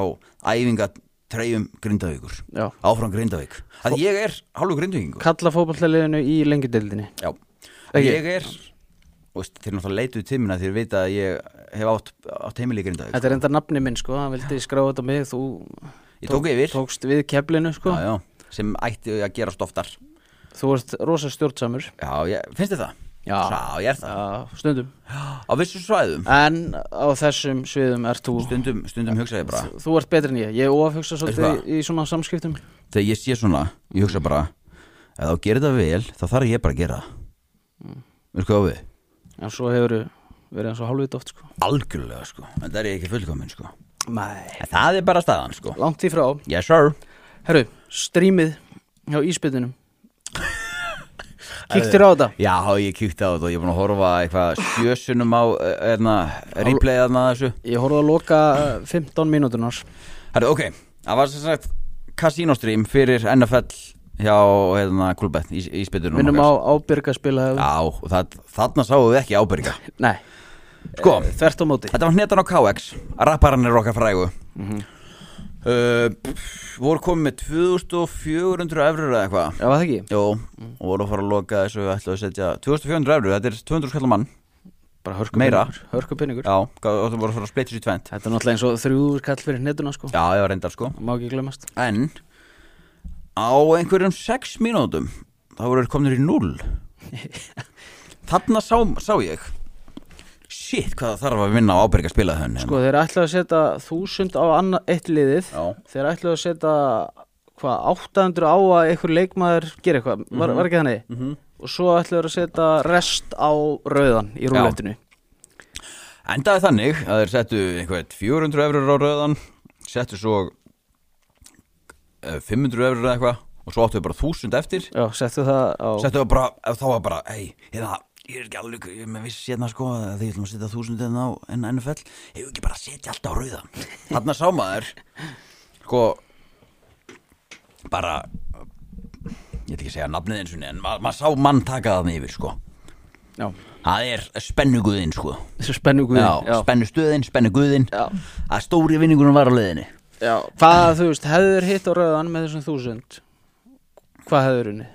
æfinga treyjum Grindavíkur Já. áfram Grindavík að ég er hálfu Grindavíkingur Kalla fótballtæliðinu í lengjudeildinni Já, Ekki? ég er og veist, þeir náttúrulega leituðu til minna þeir vita að ég hef átt, átt heimili í Grindavík Þetta er enda nafni minn sko, hann vildi skráða þetta á mig Þú Ég tók yfir tókst við keflinu sko já, já, sem ætti að gerast oftar Þú ert rosa stjórnsamur Já, ég, finnst þið það? Já. ég er það Já, stundum Á vissu svæðum, En á þessum sviðum ert þú stundum, stundum hugsa ég bara Þú ert betri en ég, ég ofhugsa Veistu svolítið hvað? í, í svona samskiptum Þegar ég sé svona, ég hugsa bara ef þá gerir það vel, þá þarf ég bara að gera það Mm. Veistu hvað á við? En svo hefur verið eins og hálfvita oft sko Algjörlega sko, en það er ég ekki fullkomin sko en Nei Það er bara staðan sko Langt í frá Yes sir Herru, strímið hjá íspytunum Kíktir á þetta Já, ég kíkti á þetta og ég er búin að horfa eitthvað sjösunum á erna, replay þarna af þessu Ég horfði að loka eh, 15 mínúturnar Herru, ok, það var sem sagt kasínostream fyrir NFL hjá hérna klubet í, í spytunum Minnum á ábyrga spila Já, og það, þarna sáum við ekki ábyrga Nei, Eh, Sko, þvert á móti Mhm. þetta var hnetan á KX, rapparann er okkar frægu uh, pff, voru komið með 2400 efrur eða eitthvað Já, var það ekki? Jó, og voru að fara að loka þessu ætlaðu að setja 2400 efrur, þetta er 200 skallar mann Bara hörku Meira. Hörku pinningur Já, og það voru að fara að splitja sér í tvent Þetta er náttúrulega eins og þrjúður kall fyrir netuna sko Já, ég var reyndar sko Má ekki glemast En á einhverjum 6 mínútum þá voru þeir komnir í 0 Þarna sá, sá ég Shit, hvað það þarf að vinna á ábyrg að spila þenni Sko þeir ætlaðu að setja þúsund á anna, eitt liðið Já. Þeir ætlaðu að setja hvað 800 á að einhver leikmaður gera eitthvað Mhm. var, var ekki þannig? -hmm. Og svo ætlaðu að setja rest á rauðan í rúlettinu Endaði þannig að þeir settu einhvern 400 eurur á rauðan settu svo eh, 500 eurur eða eitthvað og svo áttu við bara 1000 eftir Já, settu það á settu við bara, ef þá var bara hei, hérna, ég er ekki alveg ég er með viss hérna sko að því ætlum að setja 1000 hérna á enn NFL, hefur ekki bara að setja allt á rauðan þarna sá maður sko bara ég ætla ekki að segja nafnið eins og niður en ma- maður sá mann taka það yfir sko Já, það er spennuguðinn sko þessu spennu guði já, spennu stöðin, spennu guðin Já. að stóri vinningunum var á leiðinni Já, hvað þú veist, hefur hitt á rauðan með þessum þúsund Hvað hefur unni?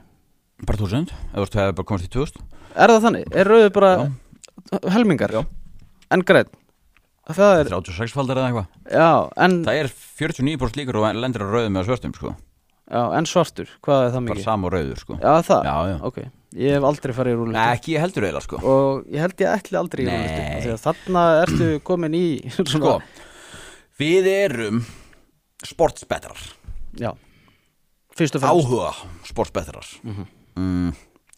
bara 1000, eða þú hefur bara komast í 2000 Er það þannig? Er rauður bara helmingar? Já En græn Það er, 36 faldar eða eitthvað já, en, það er 49% líkur og lendir á rauðum eða svörstum sko, já, en svartur Hvað er það bara mikið? sam og rauður sko Já, það? Já, já. Ok, ég hef aldrei farið í Nei, rúletu ekki ég heldur eiginlega sko Og ég held ég ætli aldrei í Nei. rúletu Þegar þarna ertu komin í svona, Sko, við erum sportsbetrar Já Fyrst og fremst Áhuga sportsbetrar Mhm.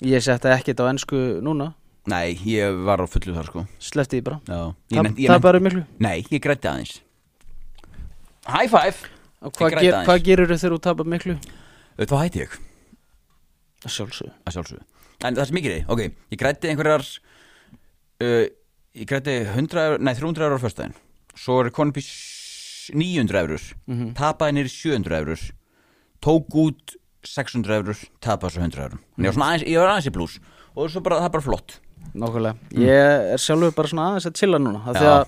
Ég setja ekkert á ensku núna Nei, ég var á fullu þar sko Sleppti því bara Já, ég nefnt- ég Það nefnt- bara miklu Nei, ég grætti aðeins High five Og Ég hvað græt ger, aðeins. hva gerir þegar þú tapar miklu? Þá hætti ég, Að Sjálfsögðu að sjálfsögðu En það sem ég gerði, ok, ég grætti einhverjar uh, Ég grætti 100, eur- nei 300 eurur á föstudaginn Svo er konum upp í s- 900 eurur Mhm. Tapaði nýri 700 eurur Tók út 600 eurur Tapaði svo 100 eurur Ég var svona aðeins, ég var aðeins í blús Og svo bara, það er bara flott Nákvæmlega, ég er sjálfur bara svona aðeins að chilla núna af því Já. að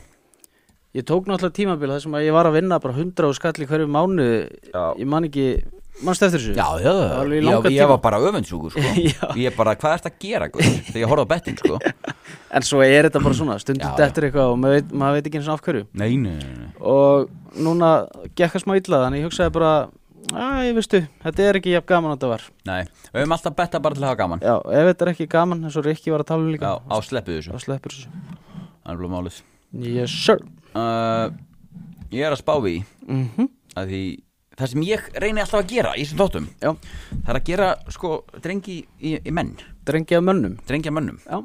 ég tók náttúrulega tímabil þar sem að ég var að vinna bara 100 og skall í hverju mánu Já. ég man ekki, mannst eftir þessu Já, já, var alveg ég, í langan ég var tíma. bara öfundsjúkur sko. Já. Ég bara, hvað ert að gera guð? Þegar ég horfði á bettin sko. en svo er þetta bara svona, stundum Já, já. dettur eitthvað og maður veit, maður veit ekki eins og af hverju Nei, nei, nei, nei og núna gekk að smá illa þannig ég hugsaði bara, að ég veistu þetta er ekki jafn gaman að þetta var Nei, við höfum alltaf betta bara til að hafa gaman já, ef þetta er ekki gaman, eins og Rikki var að tala um Já, líka á sleppu þessu þá sleppur þessu Það er blóð málið yes sir uh, Ég er að spá í mm að því, Það sem ég reyni alltaf að gera í þessum þóttum já, Það er að gera, sko, drengi í, í menn drengi af mönnum Drengja mönnum já,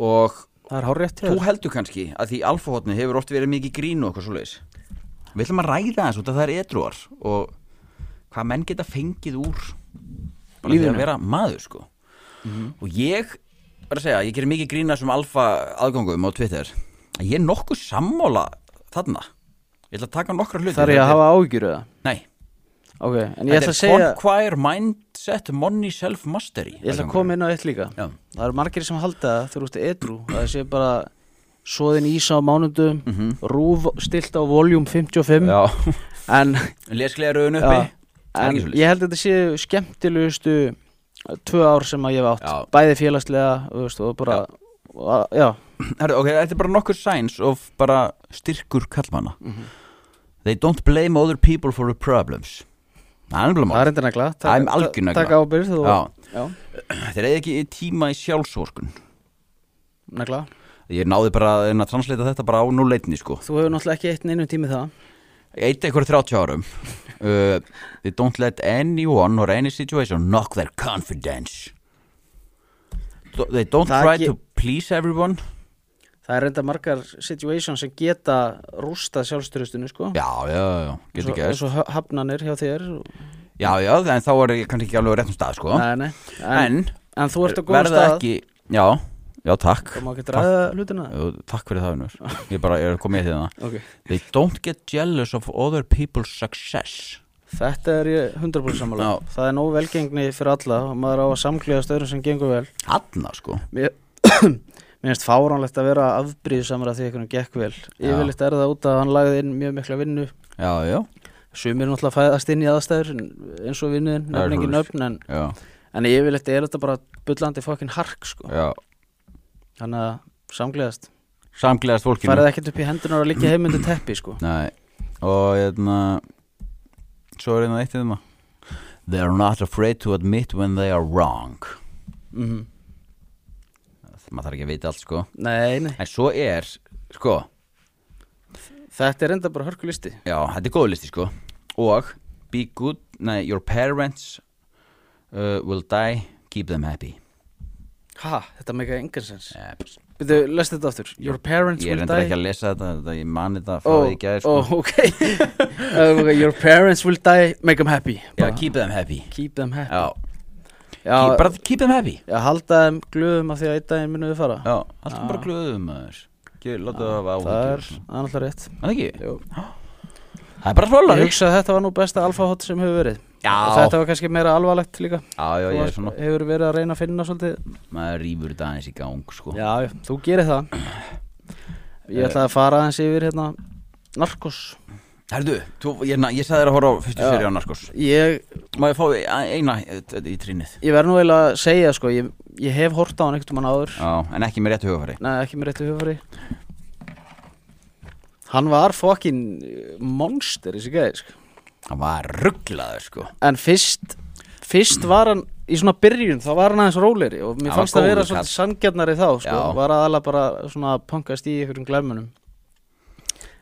Og það er hár rétt þú heldur kannski að því alfahotni hefur oft verið mikið grín og eitthvað svoleiðis Við ætlum að ræða þessu út að það er edruar Og hvað menn geta fengið úr Bara því Lífinu. Mhm. að vera maður, sko Og ég, bara að segja, ég gerir mikið grín að þessum alfa aðgangum á Twitter Að ég er nokkuð sammála þarna Ég ætla að taka nokkra hluti þar ég að Þetta er- hafa ágjur eða Nei, Ok, en ég ætla þetta að segja er Conquire Mindset Money Self Mastery Ég ætla að koma inn á eitt líka Já. Það eru margir sem halda það þegar þú ert edru að það sé bara soðin ísa á mánundum rúf stilt á voljúm 55 Mhm. Já, en, lesklegaröðun uppi já, en ég held að þetta séu skemmtilegustu uh, tvö ár sem að ég hef átt Já. bæði félagslega þú veist, og bara og að- Já, Herru, ok, þetta er bara nokkur signs of bara styrkur kallmanna Mhm. They don't blame other people for their problems Það er nefnilega það er mál endur negla Það er algjör negla. Takk ábyrð og, Já. já, Þeir eigi ekki tíma í sjálfsvorkun negla Ég náði bara að reyna að translita þetta bara á núleitni sko Þú hefur náttúrulega ekki eitt neinu tími það Eitt eitthvað 30 árum uh, They don't let anyone or any situation knock their confidence Do- They don't Það try ekki- to please everyone Það er enda margar situations sem geta rústað sjálfstyrustinu sko Já, já, já, getur Svo- ekki og svo hö- hafnanir hjá þér og... Já, já, en þá er ég kannski ekki alveg á réttum stað sko nei, nei. En, En- en þú ert að góða verða stað ekki Já, já, takk það má ekki draga hlutina Jú, Takk fyrir það, Unur Ég bara, ég er komið í það okay. They don't get jealous of other people's success þetta er ég 100% sammála Já. það er nóg velgengni fyrir alla og maður á að samklega stöðum sem gengur vel Hanna, sko mér mér finnst fáránlegt að vera afbríðsamur að því einhvern gekk vel yfirleitt er það út að hann lagði inn mjög mikla vinnu Já, já Sumir náttúrulega fæðast inn í aðstæður eins og vinnuðin, Það er nefnir engin svoleiðis. nöfn en, Já, en yfirleitt er þetta bara bullandi fokkin hark sko já Þannig að samgleðast Samgleðast fólkinu Færið ekkert upp í hendunar og liggja heimundu teppi sko Nei Og hérna Svo er hérna eitt hérna They are not afraid to admit when they are wrong mm Maður þarf ekki að vita allt sko Nei, nei, En svo er Sko þetta er enda bara hörkulisti Já, þetta er góð listi sko Og Be good Nei, your parents uh, Will die Keep them happy Ha, þetta meika engansens yep. Byrðu, lest þetta aftur Your parents Ég er will endur die ekki að lesa þetta, þetta Ég mani þetta frá Oh, því ekki að sko oh, okay. Uh, ok Your parents will die, make them happy Já, Bara keep them happy keep them happy Já, Já, keep, bara keep them happy Já, halda þeim glöðum að því að einn daginn munum við fara Já, alltaf bara glöðum aður Láta það hafa áhugur Það er það er náttúrulega rétt Það ekki? Jú. Það er bara Ég svoleiðis hugsa að þetta var nú besta alfahot sem hefur verið Já. Og Þetta var kannski meira alvarlegt líka Já, já, Þú ég er varst- svona hefur verið að reyna að finna svolítið Maður rýfur þetta aðeins í gang, sko Já, já, þú gerir það Eh. Ég ætla að fara aðeins yfir hérna Narkos Herðu, þú, ég, na, ég sagði þér að horfa á fyrstu Já. seri á Narkos Ég, Má ég fá e- eina e- e- í trínið? ég verð nú eiginlega að segja sko Ég, ég hef hort á hann einhvern mann áður Já, en ekki með réttu hugafæri Nei, ekki með réttu hugfari Hann var fucking eh, monster þessi gæði sko Hann var rugglaður, sko en fyrst fyrst var hann í svona byrjun þá var hann aðeins róleri og Hann mér var fannst það góður vera kall. svolítið sangjarnari þá sko, Já. var aðalega bara svona að punkast í einhverjum glæmunum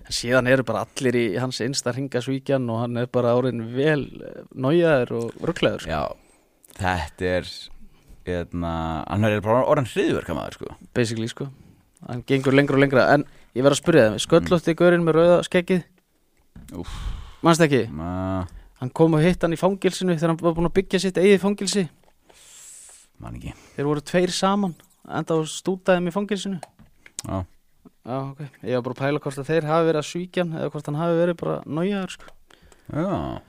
en síðan eru bara allir í hans einsta ringa svíkjan og hann er bara áriðin vel nájaður og ruggleður sko. Já, þetta er Eðna, hann er bara orðan hriðverka maður, sko basically sko hann gengur lengra og lengra en ég verð að spyrja það sköllótti í gaurinn með rauða skeggið Úff. mannst ekki Ma, hann kom og hitt hann í fangilsinu þegar hann var búin að byggja sitt eigið fangilsi Man ekki þeir voru tveir saman enda og stútaði með fangilsinu Já, Já, ok. Ég var bara að pæla hvort að þeir hafi verið að svíkja hann eða hvort hann hafi verið bara nájaður, sko. já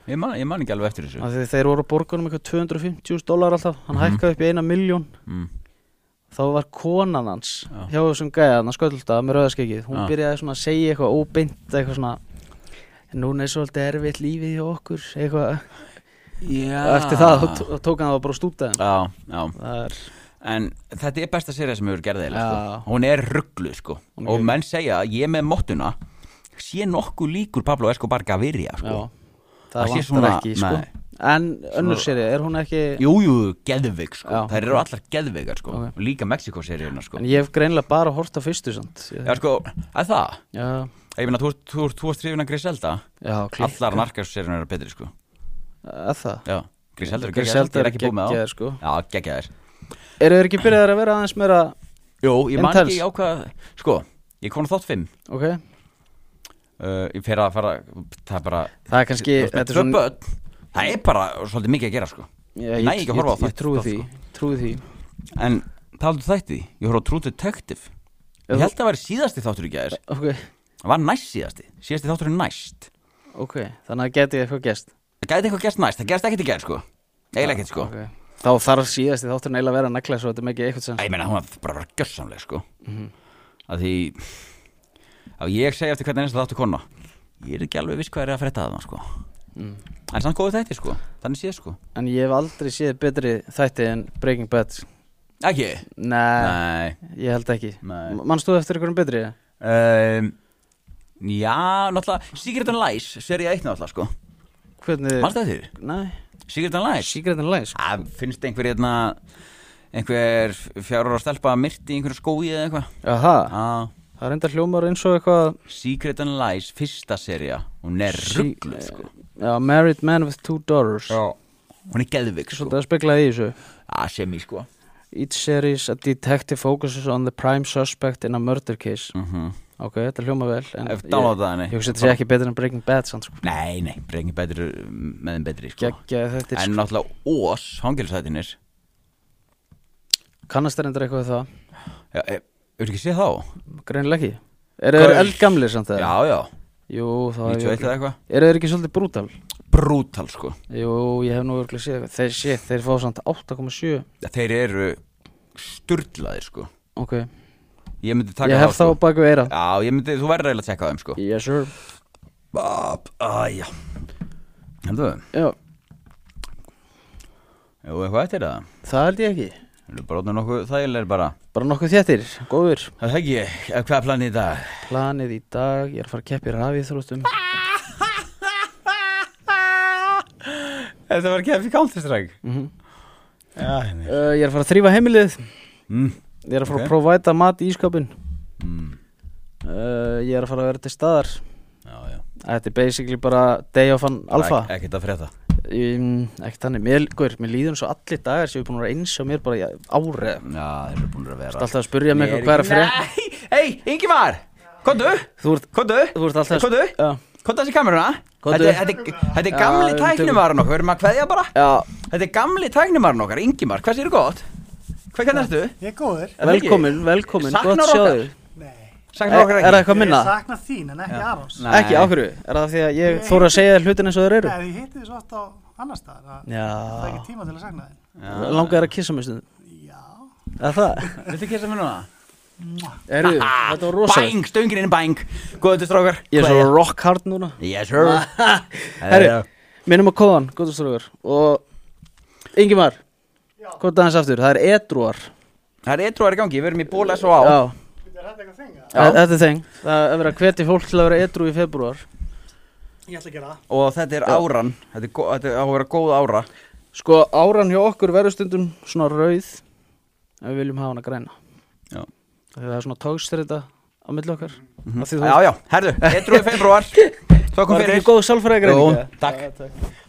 ég, man, ég man ekki alveg eftir þessu Af því að þeir voru að borga um eitthvað 250.000 dólar alltaf. Hann hækkaði upp í eina miljón. mm. Þá var konan hans Já. hjá þessum gæja, hann sköldulta með rauðaskegið. Hún Já. byrjaði svona að segja eitthvað óbeint, eitthvað svona núna er svolítið erfitt lífið hjá okkur, eitthvað. Já Eftir það þá tó- þá tók hann það bara að stúta þeim. Já, já Það er, En þetta er besta serið sem hefur gerðið Já. sko. Hún er rugglu sko. Hún er Og gegn- menn segja að ég með mottuna Sé nokkuð líkur Pablo Escobar Gaviria já. sko. Það Það sé vantar svona- ekki, sko. nei. En önnur serið, er hún ekki... Jú, jú, geðvig sko. Já. Þær eru allar geðvigar sko. Ok. Og Líka Mexiko-seríuna sko. En ég hef greinlega bara hort á fyrstu, sant? Já, sko, að það Já, Ég meina, þú ert- þú ert- þú varst hrifin að Griselda já, klík. Allar narkarseríunar eru betri sko. Að það? Já, Griselda eru geggjaðar, Griselda ég er er ekki búið með geggjaðar, það sko. Já, geggjaðar Eru þeir ekki byrjaðar að vera aðeins meira Jú, ég man Intense. ekki ákvað Sko, ég kom á þátt 5 Ok, uh, Ég fer að fara Það er bara það er kannski Þú veist, þetta með er tvö svona- börn Það er bara svolítið mikið að gera sko Já, Næ ekki að horfa á sko. ég, ég þætti, trúi það, því, trúi því En taldu þætti, ég horfði á True Detective Já, Ég held að það væri síðasti þáttur í gæðis Ok, Það var næst síðasti, síðasti þáttur er næst ok, þannig að geti eitthvað gæst Það gæti eitthvað gerst næst, það gerst ekkert í gæðis sko Eiginlega ekkert sko okay. Þá þarf síðasti þátturinn eiginlega að vera að negla svo þetta er ekki eitthvað Æ, sens ég meina, hún var bara að vera gjössamlega sko Af því Af ég segja eftir hvernig einasta þáttur kona Ég er ekki alveg viss hvað er að frétta að það sko En samt góðu þætti sko, þannig séð sko En ég hef aldrei séð betri þætti en Breaking Bad Ekki? Nei, Nei ég held ekki Nei. M- Manst þú eftir einhverjum betri? um, Já, náttúrulega Secret and Lies, serið eitt náttúrulega sko Hvernig? Manstu það þér? Nei, Secret and Lies sko. Secret and Lies Það finnst einhver hérna einhver fjár ára stelpa myrti í einhverju skói eða eitthvað Aha, ah, það er enda hljómar eins og eitthvað Secret and Lies, fyrsta seria hún er ruggluð sko Já, Married Man with Two Daughters Já. hún er geðvig sko Svolítið að spegla í þessu að sem í sko Each series a detective focuses on the prime suspect in a murder case Mhm. Ok, þetta hljóma vel en Ef ég- downloadaði henni. Ég hugsa þetta sé ekki betur en Breaking Bad samt sko Nei, nei, brengi betri með þeim betri sko Gekkja þetta er En sko náttúrulega Ós, hangilsætinir Kannast er endur eitthvað við það Eru eh, ekki séð þá? Greinilega ekki Eru þeir Gaur. eldgamlir samt það? Já, já, Jú, þá hef 91 ég eða eitthvað Eru þeir ekki svolítið brútal? Brútal sko Jú, ég hef nú örgulega séð eitthvað Þeir sé, þeir fá samt 8,7 Ja, Þeir eru sturdlaðir sko Ok, Ég myndi taka sko. ég hef þá þá á baku eira sko. Já, ég myndi, þú verður eiginlega að tekka á þeim sko Yes sir Bab, aðja Heldur þau? Já, Jú, eitthvað eftir það það held ég ekki Eru bara orðin nokkuð þægilegir bara Bara nokkuð þéttir, góður Það er ekki, eh, hvað er planið í dag? Planið í dag, ég er að fara að keppi rafið þróttum Þetta var ekki að fyrir káltistræk mm Mhm. -hmm. uh, Ég er að fara að þrýfa heimilið mm. Ég er að fara Ok. að provæta mat í ískapin Mm. uh, Ég er að fara að vera til staðar Já, já Þetta er basically bara day of an alfa Ek- Ekkert að frétta um, Ekki þannig, mér, guður, mér líður eins og allir dagar sem við búin að vera eins og mér bara í árið Já, þeir eru búin að vera Alltaf að spurja mig hvað er að fyrir Nei, hei, Ingimar Kondu, Þú ert, kondu þú ert alltaf Komdu. Já, Kondu þessi kameruna Komdu. Þetta er- þetta er- þetta er gamli Já, tæknumarinn okkar, við erum að kveðja bara já Þetta er gamli tæknumarinn okkar, Ingimar, hvað séu gott? Hvað kannar ertu? Ég er góður Er það ekki? Velkomin, velkomin, Saknar gott að sjá okkar. þig Nei Saknar Er- okkar Er það ekki eitthvað minna? Ég sakna þín en ekki Arons Nei. Ekki, áhverju, er það því að ég þóra að segja hlutin eins og þeir eru? Nei, ég hitti þið svo oft á annar staðar að Já, Það er ekki tíma til að sakna þín langar þér að kissa mig stundum Já Er það? Viltu kissa mér núna? Ah, Eru, þetta var rosa Bæng, stöngin inn bæng Góðu til strókar Ég er svo rock hard núna Yes sir Ah. Herru, minnum að kóðan, góðastrókar Og Ingimar, góð aðeins aftur, það er edruar Það er eitthvað í gangi, við erum í ból S.O.A. Já, Þetta er þetta eitthvað þing að þetta er þeng Það er verið að hveti fólk til að vera edru í februar Ég ætla að gera það Og þetta er áran Þetta er gó- þetta er á að vera góð ára Sko, áran hjá okkur verður stundum svona rauð En við viljum hafa hana græna Já, Þegar það er svona tókstreita á milli okkar mm -hmm. já, já herru, eitthvað í februar Svo kom Var þetta fyrir ekki góð Jú, sálfræðigreining? eða? takk. Já, takk